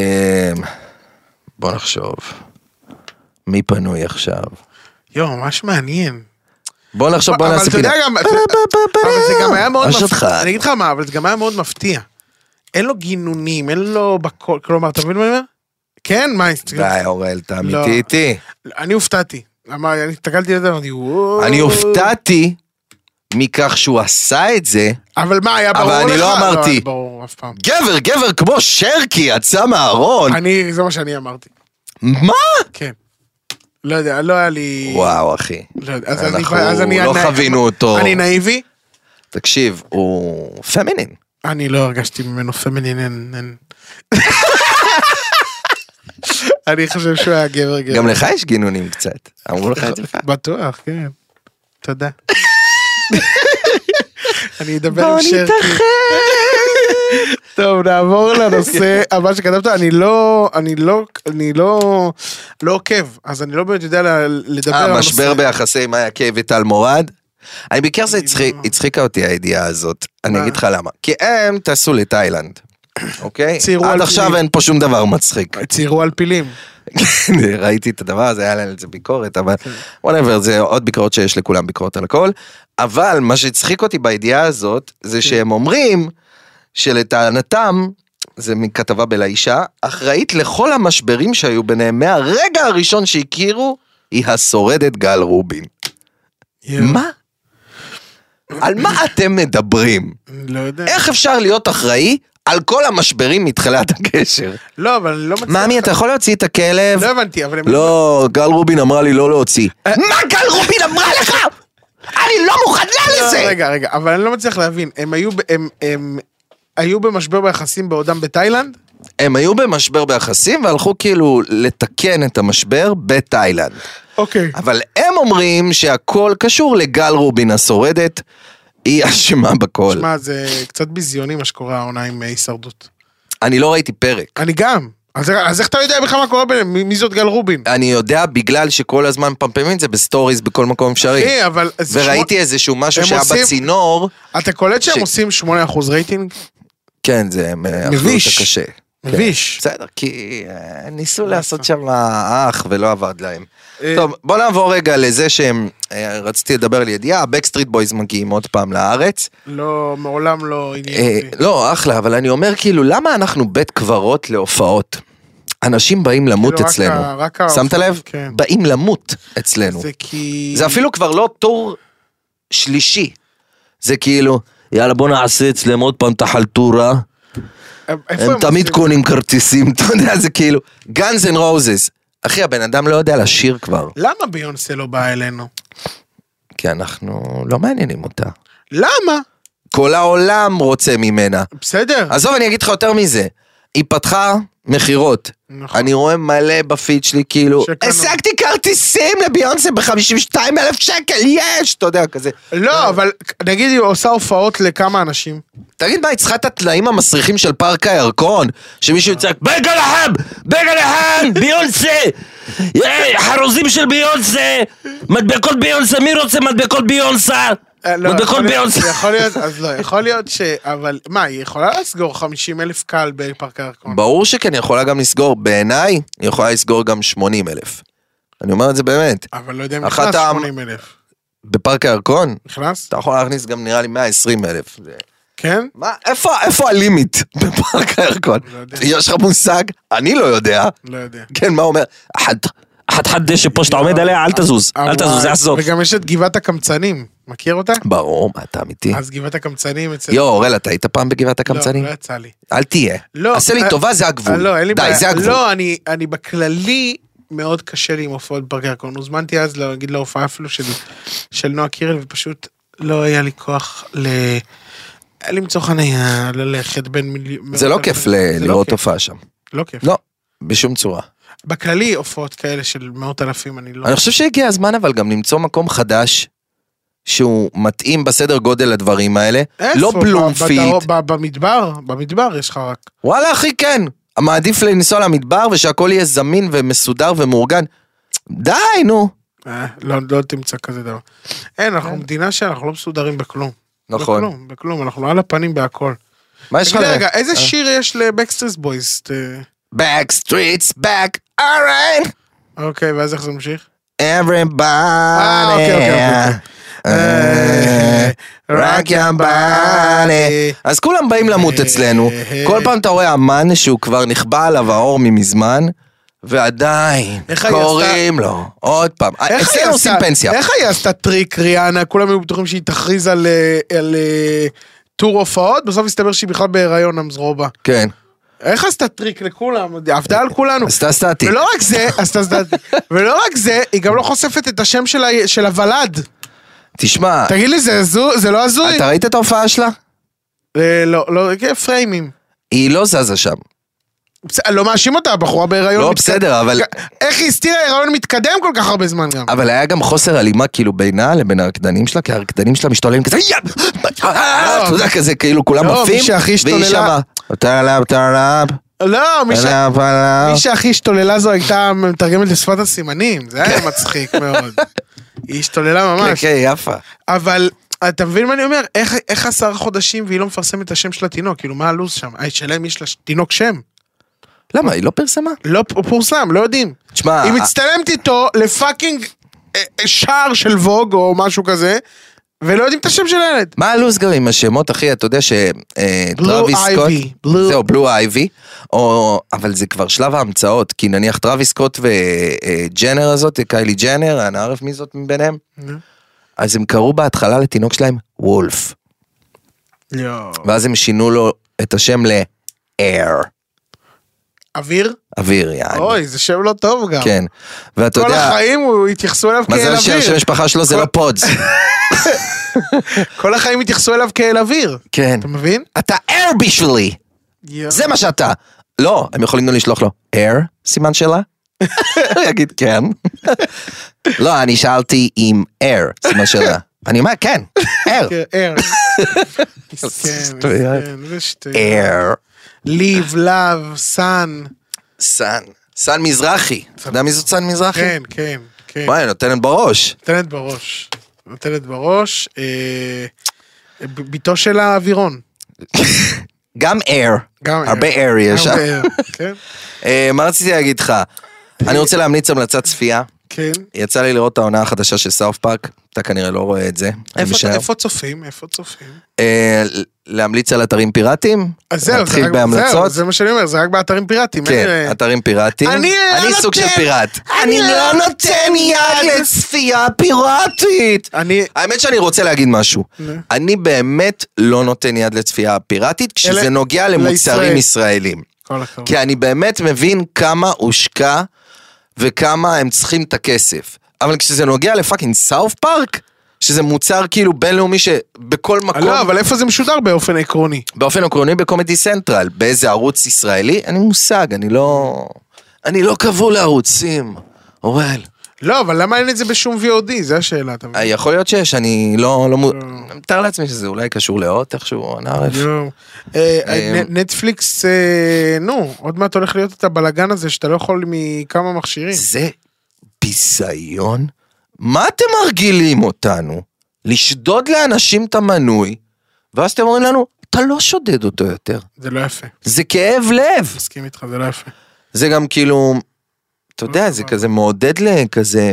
Speaker 3: בוא נחשוב. מי פנוי עכשיו?
Speaker 2: יואו, ממש מעניין.
Speaker 3: בוא נחשוב, בוא
Speaker 2: אבל
Speaker 3: נעשה
Speaker 2: אתה יודע
Speaker 3: פינה. אה,
Speaker 2: גם- אתה- אבל זה גם היה מאוד
Speaker 3: מה שלך?
Speaker 2: מפתיע. אני אגיד לך מה, אבל זה גם היה מאוד מפתיע. אין לו גינונים, אין לו בכל, כלומר, אתה מבין מה אני אומר? כן, מה,
Speaker 3: די, אוראל, אתה
Speaker 2: לא.
Speaker 3: אמיתי איתי.
Speaker 2: אני הופתעתי. למה, אני הסתכלתי על זה, אמרתי, וואו.
Speaker 3: אני הופתעתי מכך שהוא עשה את זה.
Speaker 2: אבל מה, היה ברור לך?
Speaker 3: אבל אני לא אמרתי.
Speaker 2: היה ברור, אף פעם.
Speaker 3: גבר, גבר כמו שרקי יצא מהארון.
Speaker 2: אני, זה מה שאני אמרתי,
Speaker 3: מה?
Speaker 2: כן. לא יודע, לא היה לי...
Speaker 3: וואו, אחי.
Speaker 2: לא יודע, אז אני-
Speaker 3: אנחנו
Speaker 2: אז אני-
Speaker 3: לא
Speaker 2: אני-
Speaker 3: חווינו אותו.
Speaker 2: אני נאיבי?
Speaker 3: תקשיב, הוא פמינין.
Speaker 2: אני לא הרגשתי ממנו פמינין, אין, אין. אני חושב שהוא היה גבר גבר.
Speaker 3: גם לך יש גינונים קצת. אמרו לך את זה.
Speaker 2: בטוח, כן. תודה. אני אדבר עם שרקי. טוב, נעבור לנושא הבא שכתבת. אני לא, אני לא, אני לא, לא עוקב, אז אני לא באמת יודע ל- לדבר על
Speaker 3: אה,
Speaker 2: הנושא.
Speaker 3: משבר ביחסי מאיה קיי וטל מורד? אני בעיקר זה הצחיק- הצחיקה אותי הידיעה הזאת, אני
Speaker 2: לא- מה?
Speaker 3: אגיד לך למה. כי הם טסו לתאילנד, אוקיי?
Speaker 2: ציירו
Speaker 3: עד
Speaker 2: על
Speaker 3: עכשיו
Speaker 2: פילים.
Speaker 3: אין פה שום דבר מצחיק.
Speaker 2: ציירו על פילים.
Speaker 3: ראיתי את הדבר הזה, היה להם על זה ביקורת, אבל וואטאבר, זה עוד ביקורת שיש לכולם, ביקורת על הכל. אבל מה שהצחיק אותי בידיעה הזאת, זה שהם אומרים שלטענתם, זה מכתבה בלאישה, אחראית לכל המשברים שהיו ביניהם מהרגע הראשון שהכירו, היא השורדת גל רובין. מה? על מה אתם מדברים?
Speaker 2: לא יודע.
Speaker 3: איך אפשר להיות אחראי על כל המשברים מתחילת הקשר?
Speaker 2: לא, אבל אני לא מצליח.
Speaker 3: מאמי, אתה יכול להוציא את הכלב?
Speaker 2: לא הבנתי, אבל הם...
Speaker 3: לא, גל רובין אמרה לי לא להוציא. מה גל רובין אמרה לך? אני לא מוכנה
Speaker 2: לא,
Speaker 3: לזה!
Speaker 2: רגע, רגע, אבל אני לא מצליח להבין. הם היו, ב- הם, הם היו במשבר ביחסים בעודם בתאילנד?
Speaker 3: הם היו במשבר ביחסים והלכו כאילו לתקן את המשבר בתאילנד.
Speaker 2: אוקיי.
Speaker 3: אבל הם אומרים שהכל קשור לגל רובין השורדת, היא אשמה בכל.
Speaker 2: שמע, זה קצת ביזיוני מה שקורה העונה עם אה, הישרדות.
Speaker 3: אני לא ראיתי פרק.
Speaker 2: אני גם. אז אז איך אתה יודע בכלל מה קורה ביניהם? מי- מי זאת גל רובין?
Speaker 3: אני יודע בגלל שכל הזמן מפמפמים את זה בסטוריז בכל מקום אפשרי.
Speaker 2: אחי, אה, אבל... זה
Speaker 3: וראיתי איזשהו משהו
Speaker 2: הם
Speaker 3: שהיה
Speaker 2: עושים-
Speaker 3: בצינור.
Speaker 2: שמונה- אתה קולט
Speaker 3: ש-
Speaker 2: שהם עושים 8% רייטינג?
Speaker 3: כן, זה
Speaker 2: מביש.
Speaker 3: מביש. קשה.
Speaker 2: מביש.
Speaker 3: בסדר, כי אה, ניסו לעשות שם אח ולא עבד להם.
Speaker 2: אה,
Speaker 3: טוב, בוא נעבור רגע לזה שהם, אה, רציתי לדבר על ידיעה, הבקסטריט בויז מגיעים עוד פעם לארץ.
Speaker 2: לא, מעולם לא
Speaker 3: אה,
Speaker 2: עניין אותי.
Speaker 3: לא, אחלה, אבל אני אומר כאילו, למה אנחנו בית קברות להופעות? אנשים באים למות
Speaker 2: כאילו, רק
Speaker 3: אצלנו.
Speaker 2: ה- רק ה-
Speaker 3: שמת לב?
Speaker 2: כן.
Speaker 3: באים למות אצלנו.
Speaker 2: זה כי...
Speaker 3: אה, זה אפילו כבר לא טור שלישי. זה כאילו, יאללה בוא נעשה אצלם עוד פעם את החלטורה.
Speaker 2: הם אה, איפה
Speaker 3: הם תמיד
Speaker 2: עושים?
Speaker 3: קונים כרטיסים, אתה יודע, זה כאילו, גאנז אנד רוזס. אחי, הבן אדם לא יודע לשיר כבר,
Speaker 2: למה ביונסה לא באה אלינו?
Speaker 3: כי אנחנו לא מעניינים אותה.
Speaker 2: למה?
Speaker 3: כל העולם רוצה ממנה.
Speaker 2: בסדר.
Speaker 3: עזוב, אני אגיד לך יותר מזה. היא פתחה מכירות.
Speaker 2: נכון.
Speaker 3: אני רואה מלא בפיד שלי, כאילו,
Speaker 2: שקנו.
Speaker 3: השגתי כרטיסים לביונסה ב-52 אלף שקל, יש! אתה יודע, כזה.
Speaker 2: לא, אבל נגיד היא עושה הופעות לכמה אנשים.
Speaker 3: תגיד מה, היא צריכה את הטלאים המסריחים של פארק הירקון? שמישהו יצעק, בגלהם! בגלהם! ביונסה!
Speaker 4: היי, אה, חרוזים של ביונסה! מדבקות ביונסה, מי רוצה מדבקות ביונסה?
Speaker 2: אה, לא,
Speaker 4: מדבקות
Speaker 2: יכול להיות-
Speaker 4: ביונסה.
Speaker 2: יכול להיות, אז לא, יכול להיות ש... אבל מה, היא יכולה לסגור 50 אלף קהל בפארק הירקון.
Speaker 3: ברור שכן, היא יכולה גם לסגור, בעיניי, היא יכולה לסגור גם 80 אלף. אני אומר את זה באמת.
Speaker 2: אבל לא יודע אם
Speaker 3: אחת
Speaker 2: נכנס
Speaker 3: העם-
Speaker 2: 80 אלף.
Speaker 3: בפארק הירקון,
Speaker 2: נכנס?
Speaker 3: אתה יכול להכניס גם נראה לי 120 אלף.
Speaker 2: כן?
Speaker 3: מה, איפה, איפה הלימיט בפארק הירקון?
Speaker 2: לא יודע.
Speaker 3: יש לך מושג? אני לא יודע.
Speaker 2: לא יודע.
Speaker 3: כן, מה אומר? אחד.
Speaker 4: חד חד דשא פה שאתה עומד עליה, אל תזוז, אל
Speaker 2: אבל-
Speaker 4: תזוז, זה הסוף.
Speaker 2: וגם יש את גבעת הקמצנים, מכיר אותה?
Speaker 3: ברור, מה, אתה אמיתי?
Speaker 2: אז גבעת הקמצנים אצל...
Speaker 3: יואו, אורל, אתה היית פעם בגבעת הקמצנים?
Speaker 2: לא, לא יצא לי.
Speaker 3: אל תהיה.
Speaker 2: לא.
Speaker 3: עשה לי
Speaker 2: אה,
Speaker 3: טובה, זה
Speaker 2: אה,
Speaker 3: הגבול.
Speaker 2: לא, אין לי
Speaker 3: די,
Speaker 2: בעיה.
Speaker 3: זה הגבול.
Speaker 2: לא, אני- אני בכללי... מאוד קשה לי עם הופעות בפארק הירקון, הוזמנתי אז להגיד להופעה אפילו של, של נועה קירל ופשוט לא היה לי כוח ל... למצוא חניה, ללכת בין מיליון...
Speaker 3: זה לא כיף ל-
Speaker 2: זה לא
Speaker 3: לראות
Speaker 2: כיף,
Speaker 3: הופעה שם.
Speaker 2: לא כיף.
Speaker 3: לא, בשום צורה.
Speaker 2: בכללי הופעות כאלה של מאות אלפים אני לא...
Speaker 3: אני חושב שהגיע הזמן אבל גם למצוא מקום חדש. שהוא מתאים בסדר גודל לדברים האלה,
Speaker 2: איפה?
Speaker 3: לא
Speaker 2: ב-
Speaker 3: בלומפילד,
Speaker 2: בדרום- ב- במדבר, במדבר יש לך רק.
Speaker 3: וואלה אחי כן, מעדיף לנסוע למדבר ושהכל יהיה זמין ומסודר ומאורגן, די נו,
Speaker 2: אה, לא, לא תמצא כזה דבר. אין, אנחנו מדינה שאנחנו לא מסודרים בכלום.
Speaker 3: כן. נכון,
Speaker 2: בכלום, בכלום, אנחנו על הפנים בהכל.
Speaker 3: מה יש לך?
Speaker 2: לא
Speaker 3: אה?
Speaker 2: תגיד לי, רגע, איזה שיר יש לבקסטרס בויז? אה,
Speaker 3: back streets back, alright,
Speaker 2: אוקיי, ואז איך זה ממשיך?
Speaker 3: everybody,
Speaker 2: אה, אוקיי, אוקיי, אוקיי.
Speaker 3: אה, רק your body. אז כולם באים למות אצלנו, כל פעם אתה רואה אמן שהוא כבר נכבה עליו האור ממזמן, ועדיין
Speaker 2: איך היא
Speaker 3: קוראים לו, עוד פעם,
Speaker 2: איך היא
Speaker 3: אצלנו עושים
Speaker 2: עשתה-
Speaker 3: פנסיה.
Speaker 2: איך היא עשתה טריק ריאנה? כולם היו בטוחים שהיא תכריז על אה, על, אה, טור הופעות, בסוף הסתבר שהיא בכלל בהיריון אמזרובה.
Speaker 3: כן,
Speaker 2: איך עשתה טריק לכולם? עבדה על כולנו.
Speaker 3: עשתה סטטי.
Speaker 2: ולא רק זה, עשתה סדנתי. ולא רק זה, היא גם לא חושפת את השם של ה- של הוולד.
Speaker 3: תשמע,
Speaker 2: תגיד לי, זה הזו- זה לא הזוי?
Speaker 3: אתה ראית את ההופעה שלה?
Speaker 2: אה, לא, לא, כן, פריימים.
Speaker 3: היא לא זזה שם.
Speaker 2: בסדר, לא מאשים אותה, הבחורה בהיריון
Speaker 3: לא, בסדר, אבל-
Speaker 2: איך היא הסתירה הריון מתקדם כל כך הרבה זמן גם?
Speaker 3: אבל היה גם חוסר הלימה כאילו בינה לבין הרקדנים שלה, כי הרקדנים שלה משתוללים כזה, יא! אתה יודע, כזה כאילו כולם
Speaker 2: לא, מי
Speaker 3: עפים,
Speaker 2: שהכי
Speaker 3: והיא
Speaker 2: השתוללה-
Speaker 3: שמה, טלאב, טלאב,
Speaker 2: לא, מי ש-
Speaker 3: טלאב, טלאב.
Speaker 2: מי שהכי השתוללה זו הייתה מתרגמת לשפת הסימנים, זה היה מצחיק מאוד. היא השתוללה
Speaker 3: כן,
Speaker 2: ממש.
Speaker 3: כן, יפה.
Speaker 2: אבל אתה מבין מה אני אומר? איך- איך עשר חודשים והיא לא מפרסמת את השם של התינוק? כאילו, מה הלו"ז שם? אה, שאלה אם יש לתינוק שם.
Speaker 3: למה, היא לא פרסמה?
Speaker 2: לא פ- פורסם, לא יודעים.
Speaker 3: תשמע,
Speaker 2: היא
Speaker 3: ה-
Speaker 2: מצטלמת איתו לפאקינג אה, אה, שער של ווג או משהו כזה, ולא יודעים את השם של הילד.
Speaker 3: מה הלו"ז גם עם השמות, אחי? אתה יודע שטראביס סקוט...
Speaker 2: Ivy, Blue-
Speaker 3: זהו, בלו אייבי. או... אבל זה כבר שלב ההמצאות, כי נניח טראביס סקוט וג'נר אה, הזאת, קיילי ג'נר, אני ערף מי זאת מביניהם? אז הם קראו בהתחלה לתינוק שלהם וולף,
Speaker 2: יואו.
Speaker 3: ואז הם שינו לו את השם ל-air,
Speaker 2: אוויר?
Speaker 3: אוויר יעני.
Speaker 2: אוי, זה שם לא טוב גם.
Speaker 3: כן. ואתה
Speaker 2: כל
Speaker 3: יודע,
Speaker 2: החיים הוא התייחסו אליו כאל
Speaker 3: מזל שהשם
Speaker 2: אוויר.
Speaker 3: המשפחה שלו זה לא פודס.
Speaker 2: כל החיים התייחסו אליו כאל אוויר.
Speaker 3: כן.
Speaker 2: אתה מבין?
Speaker 3: אתה air בשבילי!
Speaker 2: יואו.
Speaker 3: זה מה שאתה. לא, הם יכולים גם לשלוח לו, air? סימן שאלה? הוא יגיד כן. לא, אני שאלתי אם air, סימן שאלה. אני אומר כן, air.
Speaker 2: כן, ער. מסכן,
Speaker 3: שטויות.
Speaker 2: מסכן, זה שטויות.
Speaker 3: air.
Speaker 2: ליב, לאב, סאן.
Speaker 3: סן. סן מזרחי. אתה יודע מי זאת סן מזרחי?
Speaker 2: כן, כן, כן.
Speaker 3: וואי, נותנת בראש.
Speaker 2: נותנת בראש. נותנת בראש. אה, ב- בתו של האווירון.
Speaker 3: גם air.
Speaker 2: גם
Speaker 3: הרבה
Speaker 2: air.
Speaker 3: air יש שם.
Speaker 2: הרבה ער, כן,
Speaker 3: אה, מה רציתי להגיד לך? אני רוצה להמליץ המלצת צפייה.
Speaker 2: כן.
Speaker 3: יצא לי לראות את העונה החדשה של סאוף פארק, אתה כנראה לא רואה את זה. אני
Speaker 2: איפה-
Speaker 3: משער.
Speaker 2: איפה צופים? איפה צופים?
Speaker 3: אה, ל- להמליץ על אתרים פיראטיים?
Speaker 2: אז זהו, זה
Speaker 3: נתחיל
Speaker 2: רק- זהו,
Speaker 3: בהמלצות?
Speaker 2: זה מה שאני אומר, זה רק באתרים פיראטיים. אין,
Speaker 3: כן,
Speaker 2: אה,
Speaker 3: אתרים פיראטיים.
Speaker 2: אני לא
Speaker 3: אני סוג של
Speaker 2: נותן-
Speaker 3: פיראט. אני לא נותן יד לצפייה פיראטית.
Speaker 2: אני,
Speaker 3: האמת שאני רוצה להגיד משהו. אני באמת לא נותן יד לצפייה פיראטית כשזה
Speaker 2: אלה-
Speaker 3: נוגע למוצרים
Speaker 2: לישראל.
Speaker 3: ישראלים.
Speaker 2: כל הכבוד.
Speaker 3: כי אני באמת מבין כמה הושקע וכמה הם צריכים את הכסף. אבל כשזה נוגע לפאקינג סאוף פארק, שזה מוצר כאילו בינלאומי שבכל מקום...
Speaker 2: לא, אבל איפה זה משודר באופן עקרוני?
Speaker 3: באופן עקרוני בקומדי סנטרל, באיזה ערוץ ישראלי, אין לי מושג, אני לא... אני לא כבול לערוצים, אוראל.
Speaker 2: לא, אבל למה אין את זה בשום VOD? זו השאלה, אתה
Speaker 3: אה,
Speaker 2: מבין?
Speaker 3: יכול להיות שיש, אני לא... לא מו-
Speaker 2: אה.
Speaker 3: מתאר לעצמי שזה אולי קשור לאות איכשהו, אני ערף.
Speaker 2: יואו. אה,
Speaker 3: אה,
Speaker 2: נ- נטפליקס, אה, נו, עוד מעט הולך להיות את הבלגן הזה שאתה לא יכול מכמה מכשירים.
Speaker 3: זה ביזיון? מה אתם מרגילים אותנו? לשדוד לאנשים את המנוי, ואז אתם אומרים לנו, אתה לא שודד אותו יותר.
Speaker 2: זה לא יפה,
Speaker 3: זה כאב לב.
Speaker 2: מסכים איתך, זה לא יפה.
Speaker 3: זה גם כאילו, אתה יודע, זה כזה מעודד לכזה,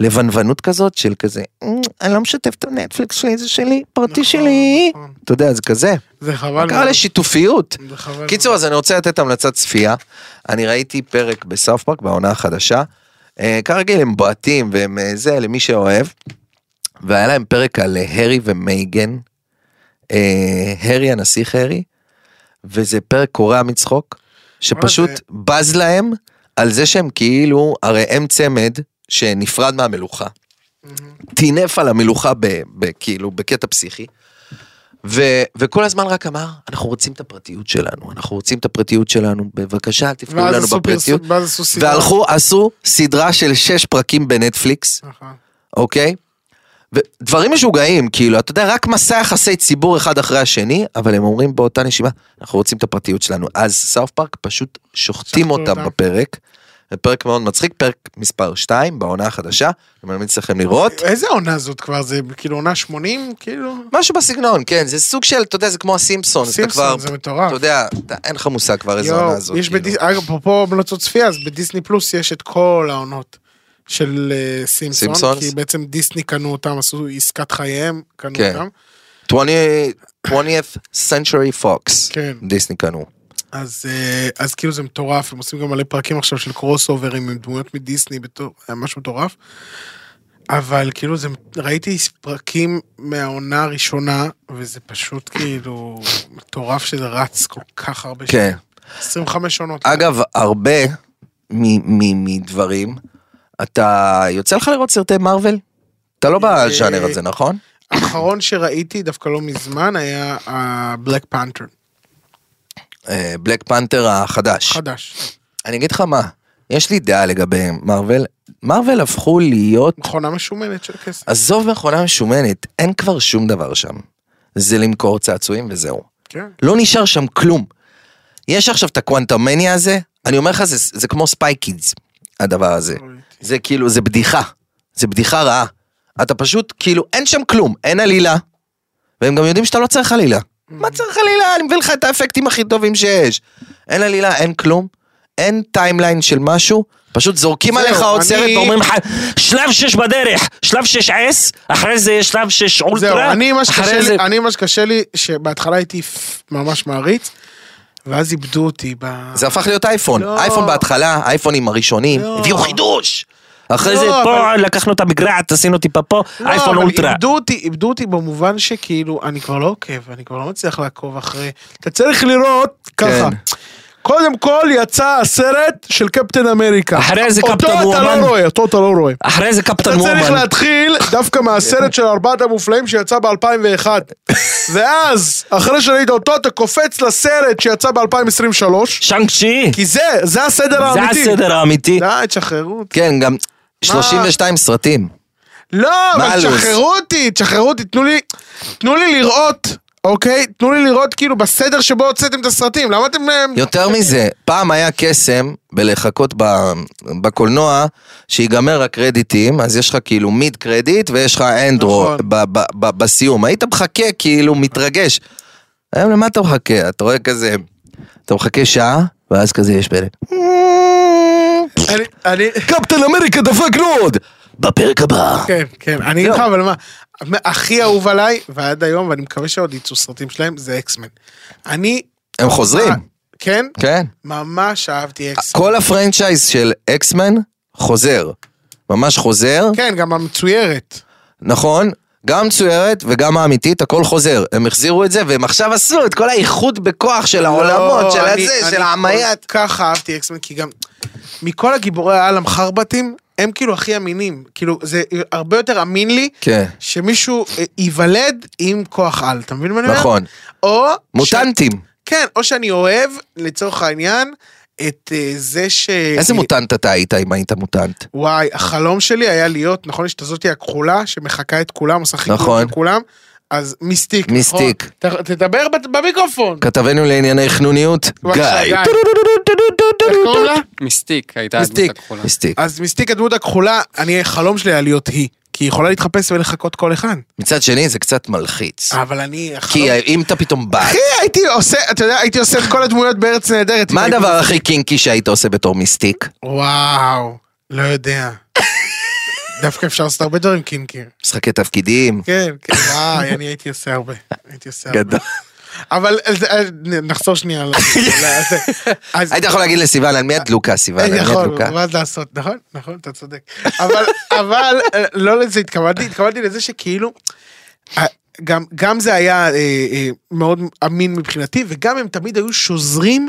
Speaker 3: לבנוונות כזאת של כזה, "אמ, אני לא משתף את הנטפליקס שלי, זה שלי, פרטי שלי.
Speaker 2: נכון.
Speaker 3: אתה יודע, זה כזה.
Speaker 2: זה חבל.
Speaker 3: קרא
Speaker 2: מאוד.
Speaker 3: לשיתופיות.
Speaker 2: זה חבל.
Speaker 3: קיצור, אז אני רוצה לתת המלצת צפייה. אני ראיתי פרק בסאוף פארק בעונה החדשה. אה, כרגיל הם בועטים והם אה, זה, למי שאוהב. והיה להם פרק על אה, הרי ומייגן. אה, הרי, הנסיך הרי. וזה פרק קורע מצחוק, שפשוט
Speaker 2: וואלה, זה-
Speaker 3: בז להם על זה שהם כאילו, הרי הם צמד שנפרד מהמלוכה. טינף על המלוכה ב, ב, כאילו בקטע פסיכי. ו, וכל הזמן רק אמר, אנחנו רוצים את הפרטיות שלנו, אנחנו רוצים את הפרטיות שלנו, בבקשה אל תפגעו
Speaker 2: ואז
Speaker 3: לנו
Speaker 2: עשו
Speaker 3: בפרטיות.
Speaker 2: פרסום- ואז עשו סיבה.
Speaker 3: והלכו, עשו סדרה של שש פרקים בנטפליקס,
Speaker 2: נכון.
Speaker 3: אוקיי? ודברים משוגעים, כאילו, אתה יודע, רק מסע יחסי ציבור אחד אחרי השני, אבל הם אומרים באותה נשימה, אנחנו רוצים את הפרטיות שלנו. אז סאוף פארק פשוט שוחטים
Speaker 2: שחטו
Speaker 3: אותם
Speaker 2: אותם.
Speaker 3: בפרק. זה פרק מאוד מצחיק, פרק מספר 2 בעונה החדשה, אני ממליץ לכם לראות.
Speaker 2: איזה עונה זאת כבר? זה כאילו עונה 80? כאילו?
Speaker 3: משהו בסגנון, כן, זה סוג של, אתה יודע, זה כמו הסימפסון, אתה כבר,
Speaker 2: סימפסון, זה מטורף.
Speaker 3: אתה יודע, אתה- אין לך מושג כבר איזה עונה זאת.
Speaker 2: יואו, יש
Speaker 3: כאילו.
Speaker 2: בדיס... אגב, אפרופו המלצות צפייה, אז בדיסני פלוס יש את כל העונות של אה, סימפסון,
Speaker 3: סימפסונס?
Speaker 2: כי בעצם דיסני קנו אותם, עשו עסקת חייהם, קנו
Speaker 3: כן.
Speaker 2: אותם.
Speaker 3: 20 20th Century Fox,
Speaker 2: כן.
Speaker 3: דיסני קנו.
Speaker 2: אז, אה, אז כאילו זה מטורף, הם עושים גם מלא פרקים עכשיו של קרוס אוברים עם דמויות מדיסני, בתור, אה, משהו מטורף. אבל כאילו זה, ראיתי פרקים מהעונה הראשונה, וזה פשוט כאילו מטורף שזה רץ כל כך הרבה
Speaker 3: כן.
Speaker 2: שנים. 25 עונות.
Speaker 3: אגב, הרבה מ- מ- מדברים, אתה, יוצא לך לראות סרטי מרוויל? אתה לא בז'אנר הזה, נכון?
Speaker 2: האחרון שראיתי דווקא לא מזמן היה ה-Black Panther.
Speaker 3: אה, בלק פנתר החדש.
Speaker 2: חדש.
Speaker 3: אני אגיד לך מה, יש לי דעה לגבי מרוויל. מרוויל הפכו להיות,
Speaker 2: מכונה משומנת של כסף.
Speaker 3: עזוב מכונה משומנת, אין כבר שום דבר שם. זה למכור צעצועים וזהו.
Speaker 2: כן.
Speaker 3: לא נשאר שם כלום. יש עכשיו את הקוונטמניה הזה, אני אומר לך, זה, זה כמו ספייקידס, הדבר הזה. זה כאילו, זה בדיחה. זה בדיחה רעה. אתה פשוט, כאילו, אין שם כלום, אין עלילה. והם גם יודעים שאתה לא צריך עלילה.
Speaker 2: Mm.
Speaker 3: מה צריך עלילה? אני מביא לך את האפקטים הכי טובים שיש. אין עלילה, אין כלום. אין טיימליין של משהו, פשוט זורקים
Speaker 2: זהו,
Speaker 3: עליך עוד
Speaker 2: אני-
Speaker 3: סרט ואומרים
Speaker 4: אומרים לך, שלב 6 בדרך, שלב 6 S, אחרי זה יש שלב 6 אולטרה,
Speaker 2: זהו, אני מה שקשה
Speaker 4: אחרי
Speaker 2: לי,
Speaker 4: זה...
Speaker 2: אני מה שקשה לי, שבהתחלה הייתי פ- ממש מעריץ, ואז איבדו אותי ב...
Speaker 3: זה הפך להיות אייפון.
Speaker 2: לא.
Speaker 3: אייפון בהתחלה, אייפונים הראשונים,
Speaker 2: לא.
Speaker 3: הביאו חידוש.
Speaker 4: אחרי
Speaker 2: לא,
Speaker 4: זה פה
Speaker 2: אבל-
Speaker 4: לקחנו את המגרעת, עשינו טיפה פה,
Speaker 2: לא,
Speaker 4: אייפון
Speaker 2: אבל
Speaker 4: אולטרה.
Speaker 2: איבדו אותי, איבדו אותי במובן שכאילו, אני כבר לא עוקב, אני כבר לא מצליח לעקוב אחרי... אתה צריך לראות ככה. קודם כל יצא הסרט של קפטן אמריקה.
Speaker 4: אחרי זה קפטן
Speaker 2: אותו אתה
Speaker 4: מורמן.
Speaker 2: לא רואה, אותו אתה לא רואה.
Speaker 4: אחרי זה
Speaker 2: אתה
Speaker 4: קפטן
Speaker 2: צריך
Speaker 4: מורמן.
Speaker 2: להתחיל דווקא מהסרט של ארבעת המופלאים שיצא ב-2001. ואז, אחרי שראית אותו, אתה קופץ לסרט שיצא ב-2023,
Speaker 4: שאנג צ'י,
Speaker 2: כי זה, זה הסדר
Speaker 4: זה
Speaker 2: האמיתי.
Speaker 4: הסדר האמיתי.
Speaker 2: די, תשחררו אותי.
Speaker 3: כן, גם 32 סרטים.
Speaker 2: לא,
Speaker 3: מה
Speaker 2: אבל
Speaker 3: הלו"ז?
Speaker 2: תשחררו אותי, תשחררו אותי, תנו לי, תנו לי לראות, אוקיי? תנו לי לראות כאילו בסדר שבו הוצאתם את הסרטים, למה אתם... אה,
Speaker 3: יותר מזה, פעם היה קסם בלחכות ב- בקולנוע, שיגמר הקרדיטים, אז יש לך כאילו מיד קרדיט ויש לך אנדרו
Speaker 2: נכון.
Speaker 3: ב- ב- ב- בסיום. היית מחכה כאילו מתרגש. היום למה אתה מחכה? אתה רואה כזה, אתה מחכה שעה, ואז כזה יש פרק.
Speaker 2: אני, אני...
Speaker 3: קפטן אמריקה דפקנו עוד! בפרק הבא.
Speaker 2: כן, כן, אני אגיד
Speaker 3: לא.
Speaker 2: לך, אבל מה, מה- הכי אהוב עליי, ועד היום, ואני מקווה שעוד יצאו סרטים שלהם, זה אקסמן. אני...
Speaker 3: הם חוזרים,
Speaker 2: אה, כן?
Speaker 3: כן.
Speaker 2: ממש אהבתי אקסמן.
Speaker 3: כל הפרנצ'ייז של אקסמן חוזר. ממש חוזר.
Speaker 2: כן, גם המצוירת.
Speaker 3: נכון, גם מצוירת וגם האמיתית, הכל חוזר. הם החזירו את זה, והם עכשיו עשו את כל האיחוד בכוח של העולמות, של
Speaker 2: לא, אני-
Speaker 3: הזה,
Speaker 2: אני
Speaker 3: של
Speaker 2: כל
Speaker 3: העמייט.
Speaker 2: כך אהבתי אקסמן, כי גם מכל הגיבורי העל המחרבטים, הם כאילו הכי אמינים. כאילו, זה הרבה יותר אמין לי
Speaker 3: כן.
Speaker 2: שמישהו אה, ייוולד עם כוח על, אתה מבין מה אני אומר?
Speaker 3: נכון.
Speaker 2: או...
Speaker 3: מוטנטים.
Speaker 2: ש... כן, או שאני אוהב, לצורך העניין, את אה, זה ש...
Speaker 3: איזה מוטנט אתה היית אם היית מוטנט?
Speaker 2: וואי, החלום שלי היה להיות, נכון, יש את הזאתי הכחולה שמחקה את כולם, עושה חיגור
Speaker 3: נכון.
Speaker 2: לכולם, אז מיסטיק.
Speaker 3: מיסטיק.
Speaker 2: נכון? ת- תדבר בת- במיקרופון.
Speaker 3: כתבנו לענייני חנוניות,
Speaker 2: בבקשה,
Speaker 3: גיא.
Speaker 2: גיא. איך קוראים לה?
Speaker 6: מיסטיק הייתה הדמות
Speaker 3: מסטיק,
Speaker 6: הכחולה.
Speaker 3: מסטיק.
Speaker 2: אז מיסטיק הדמות הכחולה, אני, החלום שלי היה להיות היא. כי היא יכולה להתחפש ולחקות כל אחד.
Speaker 3: מצד שני זה קצת מלחיץ.
Speaker 2: אבל אני, החלום...
Speaker 3: כי אם אתה פתאום בא,
Speaker 2: אה, לא. אחי, הייתי עושה, אתה יודע, הייתי עושה את כל הדמויות בארץ נהדרת.
Speaker 3: מה
Speaker 2: אם הייתי-
Speaker 3: הדבר הכי קינקי שהיית עושה בתור מיסטיק?
Speaker 2: וואו, לא יודע. דווקא אפשר לעשות הרבה דברים קינקי.
Speaker 3: משחקי תפקידים?
Speaker 2: כן, כן, וואי, אני הייתי עושה הרבה. הייתי עושה הרבה.
Speaker 3: גדול.
Speaker 2: אבל אז- אז נחזור שנייה. ל- לזה. אז-
Speaker 3: היית יכול להגיד לסיוון, על מי את דלוקה, סיוון? על מי את
Speaker 2: יכול,
Speaker 3: דלוקה?
Speaker 2: נכון, מה אז לעשות, נכון, נכון, אתה צודק. אבל, אבל, אה, לא לזה התכוונתי, התכוונתי לזה שכאילו, אה, גם, גם זה היה אה, אה, מאוד אמין מבחינתי, וגם הם תמיד היו שוזרים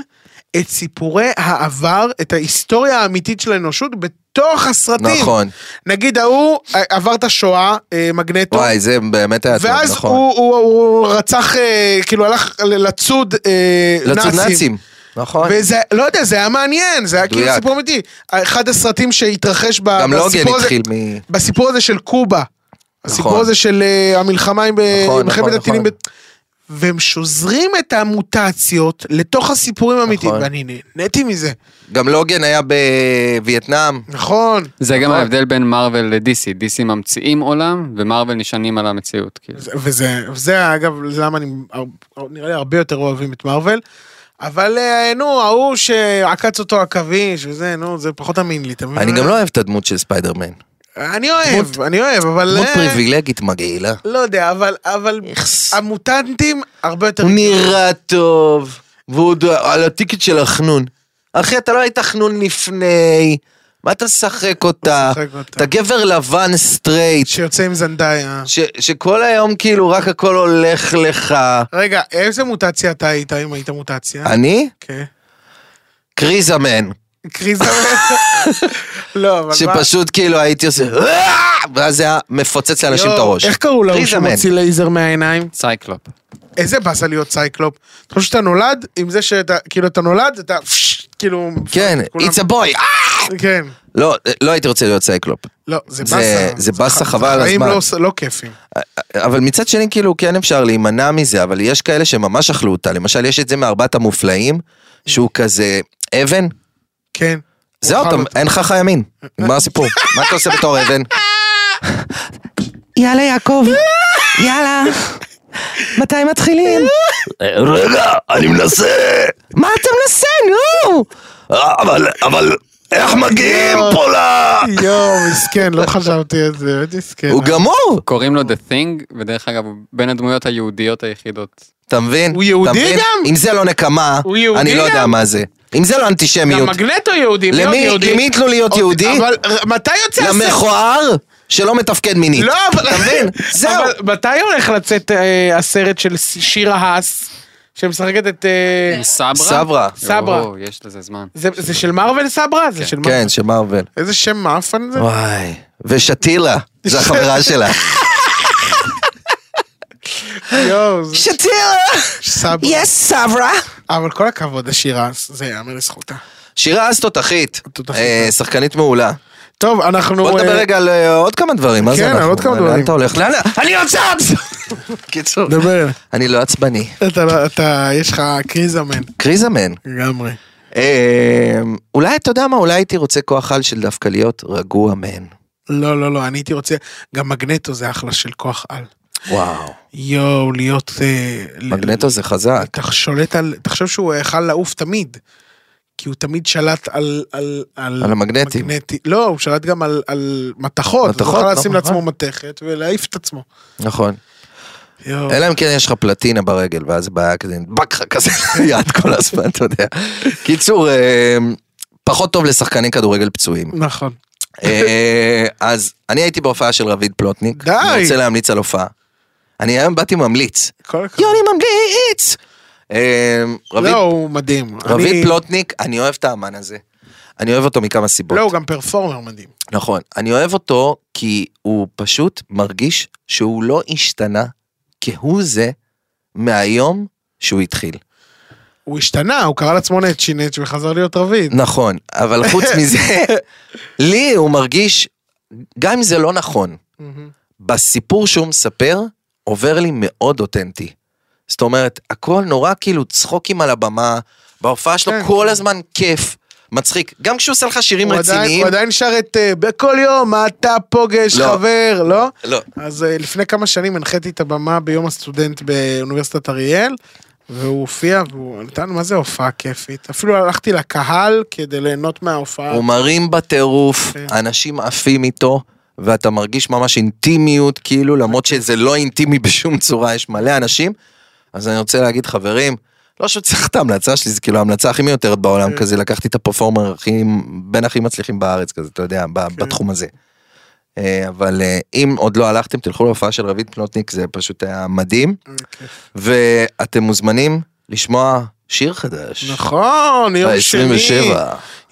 Speaker 2: את סיפורי העבר, את ההיסטוריה האמיתית של האנושות, בתוך הסרטים.
Speaker 3: נכון.
Speaker 2: נגיד ההוא אה, עבר את השואה, אה, מגנטו.
Speaker 3: וואי, זה באמת היה טוב,
Speaker 2: ואז
Speaker 3: נכון.
Speaker 2: הוא, הוא, הוא רצח, אה, כאילו הלך לצוד אה,
Speaker 3: לצוד נאצים. לא, נכון.
Speaker 2: וזה, לא יודע, זה היה מעניין, זה היה
Speaker 3: מדויק.
Speaker 2: כאילו סיפור אמיתי. אחד הסרטים שהתרחש ב-
Speaker 3: גם לוגן
Speaker 2: בסיפור הזה,
Speaker 3: התחיל מ...
Speaker 2: בסיפור הזה של קובה. הסיפור הזה של אה, המלחמה עם
Speaker 3: נכון,
Speaker 2: מלחמת
Speaker 3: נכון,
Speaker 2: הטילים.
Speaker 3: נכון.
Speaker 2: ב- והם שוזרים את המוטציות לתוך הסיפורים האמיתיים,
Speaker 3: נכון.
Speaker 2: ואני נהניתי מזה.
Speaker 3: גם לוגן היה בווייטנאם.
Speaker 2: נכון.
Speaker 6: זה גם ההבדל בין מארוול לדיסי, דיסי ממציאים עולם ומארוול נשענים על המציאות. כאילו.
Speaker 2: זה- וזה, וזה אגב, למה אני, הר- נראה לי הרבה יותר אוהבים את מארוול. אבל אה, נו, ההוא שעקץ אותו עכביש וזה, נו, זה פחות אמין לי, אתה מבין?
Speaker 3: אני גם לא אוהב את הדמות של ספיידרמן.
Speaker 2: אני אוהב, אני אוהב, אבל...
Speaker 3: דמות
Speaker 2: אה,
Speaker 3: פריבילגית מגעילה.
Speaker 2: לא יודע, אבל, אבל
Speaker 3: איכס.
Speaker 2: המוטנטים הרבה יותר...
Speaker 3: הוא נראה טוב, והוא עוד על הטיקט של החנון. אחי, אתה לא היית חנון לפני, מה אתה משחק אותה?
Speaker 2: משחק אותה.
Speaker 3: אתה גבר לבן סטרייט,
Speaker 2: שיוצא עם זנדאיה.
Speaker 3: ש- שכל היום כאילו רק הכל הולך לך.
Speaker 2: רגע, איזה מוטציה אתה היית, אם היית מוטציה?
Speaker 3: אני?
Speaker 2: כן.
Speaker 3: קריזמן,
Speaker 2: קריזה... לא, אבל מה...
Speaker 3: שפשוט כאילו הייתי עושה, "אה!" ואז זה היה מפוצץ לאנשים את
Speaker 2: יואו,
Speaker 3: הראש.
Speaker 2: איך קראו להוא
Speaker 3: קריזמן.
Speaker 2: שמוציא לייזר מהעיניים?
Speaker 6: סייקלופ.
Speaker 2: איזה באסה להיות סייקלופ. אתה חושב שאתה נולד עם זה שאתה, כאילו אתה נולד, אתה פשש, כאילו...
Speaker 3: כן,
Speaker 2: כולם-
Speaker 3: it's a boy.
Speaker 2: כן.
Speaker 3: לא, לא הייתי רוצה להיות סייקלופ.
Speaker 2: לא, זה
Speaker 3: זה-
Speaker 2: באסה.
Speaker 3: זה באסה,
Speaker 2: ח-
Speaker 3: חבל על
Speaker 2: חיים
Speaker 3: הזמן.
Speaker 2: לא- לא כיפים.
Speaker 3: אבל מצד שני, כאילו, כן אפשר להימנע מזה, אבל יש כאלה שממש אכלו אותה. למשל, יש את זה מארבעת המופלאים, שהוא כזה אבן.
Speaker 2: כן.
Speaker 3: זהו,
Speaker 2: הוא אכל
Speaker 3: אתה- אין לך חי ימין. מה הסיפור? מה אתה עושה בתור אבן?
Speaker 1: יאללה, יעקב. יאללה. מתי מתחילים?
Speaker 4: אה, רגע, אני מנסה!
Speaker 1: מה אתה מנסה, נו?
Speaker 4: אה, אבל, אבל, איך מגיעים
Speaker 3: לא.
Speaker 4: פה ל...
Speaker 2: יואו, מסכן, לא חשבתי על זה, באמת מסכן.
Speaker 3: הוא גמור!
Speaker 6: קוראים לו The Thing, ודרך אגב, הוא בין הדמויות היהודיות היחידות.
Speaker 3: אתה מבין?
Speaker 2: הוא יהודי
Speaker 3: אתה מבין?
Speaker 2: גם?
Speaker 3: אם זה לא נקמה,
Speaker 2: הוא יהודי
Speaker 3: אני לא יודע
Speaker 2: גם?
Speaker 3: מה זה. אם זה לא אנטישמיות.
Speaker 2: מגנטו יהודי, מי עוד
Speaker 3: למי
Speaker 2: יהודי? אוקיי,
Speaker 3: למי ייתנו להיות יהודי?
Speaker 2: אבל ר- מתי יוצא הספר?
Speaker 3: למכוער שלא מתפקד מינית.
Speaker 2: לא, אבל...
Speaker 3: אתה מבין? זהו.
Speaker 2: אבל מתי הולך לצאת אה, הסרט של ס- שירה האס, שמשחקת את...
Speaker 3: כן.
Speaker 2: אה,
Speaker 6: סברה?
Speaker 3: סברה.
Speaker 2: סברה.
Speaker 6: יואו, יש לזה זמן.
Speaker 2: זה זה של מארוול סברה? זה של מארוול.
Speaker 3: כן, של מארוול.
Speaker 2: איזה שם מאפן זה?
Speaker 3: וואי. ושתילה, זו החברה שלה.
Speaker 2: יואו, זה
Speaker 1: שתירה.
Speaker 2: סברה.
Speaker 1: יס, סברה.
Speaker 2: אבל כל הכבוד, השירה האס, זה יאמר לזכותה.
Speaker 3: שירה אז תותחית.
Speaker 2: תותחית.
Speaker 3: אה, שחקנית מעולה.
Speaker 2: טוב, אנחנו...
Speaker 3: בוא נדבר
Speaker 2: אה,
Speaker 3: רגע על אה, עוד כמה דברים. מה זה
Speaker 2: כן, על
Speaker 3: אנחנו?
Speaker 2: עוד כמה
Speaker 3: לאן
Speaker 2: דברים. לא,
Speaker 3: אתה הולך? לאן? אני רוצה עוד! קיצור.
Speaker 2: דבר.
Speaker 3: אני לא עצבני.
Speaker 2: אתה לא- אתה, יש לך קריזמן.
Speaker 3: קריזמן.
Speaker 2: לגמרי.
Speaker 3: אה, אולי, אתה יודע מה, אולי הייתי רוצה כוח על של דווקא להיות רגוע מן.
Speaker 2: לא, לא, לא, אני הייתי רוצה, גם מגנטו זה אחלה של כוח על.
Speaker 3: וואו.
Speaker 2: יואו, להיות... אה, ל-
Speaker 3: מגנטו זה חזק.
Speaker 2: אתה שולט על... תחשוב שהוא יכל לעוף תמיד. כי הוא תמיד שלט על... על,
Speaker 3: על המגנטים.
Speaker 2: מגנטי, לא, הוא שלט גם על, על מתכות. מתכות,
Speaker 3: מתכות,
Speaker 2: הוא
Speaker 3: לא,
Speaker 2: יכול לשים לעצמו
Speaker 3: נכון.
Speaker 2: מתכת ולהעיף את עצמו.
Speaker 3: נכון.
Speaker 2: יואו.
Speaker 3: אלא אם כן יש לך פלטינה ברגל, ואז זה בעיה כזה, נדבק לך כזה ליד כל הזמן, אתה יודע. קיצור, אה, פחות טוב לשחקני כדורגל פצועים.
Speaker 2: נכון.
Speaker 3: אה, אז אני הייתי בהופעה של רביד פלוטניק.
Speaker 2: די.
Speaker 3: אני רוצה להמליץ על הופעה. אני היום באתי ממליץ.
Speaker 2: כל הכבוד.
Speaker 3: יוני ממליץ! אה, רביד-
Speaker 2: לא, הוא מדהים. אני-
Speaker 3: רביד פלוטניק, אני אוהב את האמן הזה. אני אוהב אותו מכמה סיבות.
Speaker 2: לא, הוא גם פרפורמר מדהים.
Speaker 3: נכון. אני אוהב אותו כי הוא פשוט מרגיש שהוא לא השתנה כהוא זה מהיום שהוא התחיל.
Speaker 2: הוא השתנה, הוא קרא לעצמו נצ'י נצ'י וחזר להיות רביד.
Speaker 3: נכון, אבל חוץ מזה, לי הוא מרגיש, גם אם זה לא נכון,
Speaker 2: מהמם.
Speaker 3: בסיפור שהוא מספר, עובר לי מאוד אותנטי. זאת אומרת, הכל נורא כאילו צחוקים על הבמה, בהופעה שלו
Speaker 2: כן.
Speaker 3: כל הזמן כיף, מצחיק. גם כשהוא עושה לך שירים
Speaker 2: הוא עדיין-
Speaker 3: רציניים,
Speaker 2: הוא עדיין שר את אה, בכל יום, מה אתה פוגש
Speaker 3: לא.
Speaker 2: חבר, לא?
Speaker 3: לא,
Speaker 2: אז אה, לפני כמה שנים הנחיתי את הבמה ביום הסטודנט באוניברסיטת אריאל, והוא הופיע, והוא נתן, מה זה הופעה כיפית? אפילו הלכתי לקהל כדי ליהנות מההופעה.
Speaker 3: הוא מרים בטירוף,
Speaker 2: כן.
Speaker 3: אנשים עפים איתו, ואתה מרגיש ממש אינטימיות, כאילו, למרות שזה לא אינטימי בשום צורה, יש מלא אנשים. אז אני רוצה להגיד, חברים, לא שצריך את ההמלצה שלי, זה כאילו ההמלצה הכי מיותרת בעולם,
Speaker 2: כן.
Speaker 3: כזה לקחתי את הפרפורמר הכי, בין הכי מצליחים בארץ, כזה, אתה יודע, ב-
Speaker 2: כן.
Speaker 3: בתחום הזה. אה, אבל אה, אם עוד לא הלכתם, תלכו להופעה של רביד פלוטניק, זה פשוט היה מדהים,
Speaker 2: אה,
Speaker 3: ואתם מוזמנים לשמוע שיר חדש.
Speaker 2: נכון, יום שני.
Speaker 3: ב-27.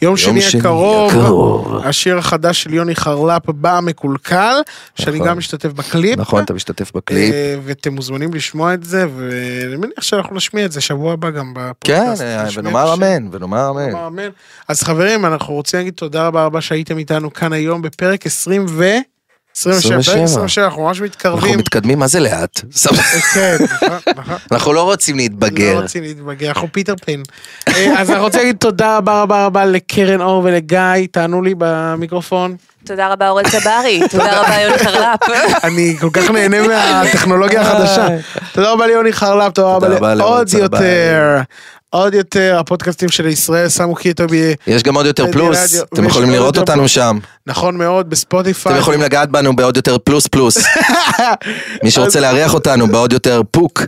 Speaker 2: יום שני הקרוב.
Speaker 3: הקרוב.
Speaker 2: השיר החדש של יוני חרלפ, בא המקולקל, שאני
Speaker 3: נכון.
Speaker 2: גם משתתף בקליפ.
Speaker 3: נכון, אתה משתתף בקליפ.
Speaker 2: אה, ואתם מוזמנים לשמוע את זה, ואני מניח שאנחנו נשמיע את זה שבוע הבא גם
Speaker 3: כן,
Speaker 2: בפודקאסט.
Speaker 3: אה,
Speaker 2: נשמיע את
Speaker 3: ונאמר
Speaker 2: השיר.
Speaker 3: אמן, ונאמר אמן.
Speaker 2: אמן. אז חברים, אנחנו רוצים להגיד תודה רבה רבה שהייתם איתנו כאן היום בפרק 20 ו... 27, פרק 27, אנחנו ממש
Speaker 3: אנחנו
Speaker 2: מתקרבים.
Speaker 3: מתקדמים, מה זה לאט?
Speaker 2: כן, נכון, נכון.
Speaker 3: אנחנו לא רוצים להתבגר.
Speaker 2: לא רוצים להתבגר, אנחנו פיטר פן. אה, אז אני רוצה להגיד תודה רבה רבה רבה לקרן אור ולגיא, תענו לי במיקרופון.
Speaker 5: תודה רבה אורן צברי, תודה רבה יוני חרלפ.
Speaker 2: אני כל כך נהנה מהטכנולוגיה החדשה. תודה רבה ליוני חרלפ, תודה
Speaker 3: תודה רבה
Speaker 2: רבה
Speaker 3: לאורן
Speaker 2: לעוד
Speaker 3: צברי.
Speaker 2: יותר. עוד יותר, הפודקאסטים של ישראל שמו קיטו ב...
Speaker 3: יש גם עוד יותר
Speaker 2: רדיו,
Speaker 3: פלוס,
Speaker 2: רדיו,
Speaker 3: אתם
Speaker 2: ויש
Speaker 3: יכולים
Speaker 2: עוד
Speaker 3: לראות
Speaker 2: יותר
Speaker 3: אותנו
Speaker 2: פלוס.
Speaker 3: שם.
Speaker 2: נכון מאוד, בספוטיפיי.
Speaker 3: אתם יכולים לגעת בנו בעוד יותר פלוס פלוס. מי שרוצה לארח אותנו בעוד יותר פוק.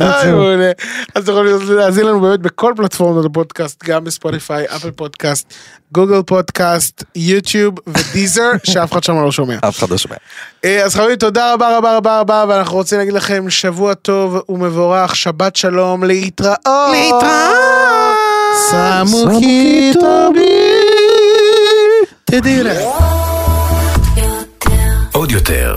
Speaker 2: איי, אה, מעולה. אז אתם יכולים להאזין לנו באמת בכל פלטפורמות הפודקאסט, גם בספוטיפיי, אפל פודקאסט, גוגל פודקאסט, יוטיוב ודיזר, שאף אחד שם לא שומע.
Speaker 3: אף אחד לא שומע.
Speaker 2: אה, אז חברים, תודה רבה רבה רבה רבה, ואנחנו רוצים להגיד לכם שבוע טוב ומבורך, שבת שלום, להתראות. להתראות. שמו כיתו בי. תדעי לך.
Speaker 7: עוד יותר,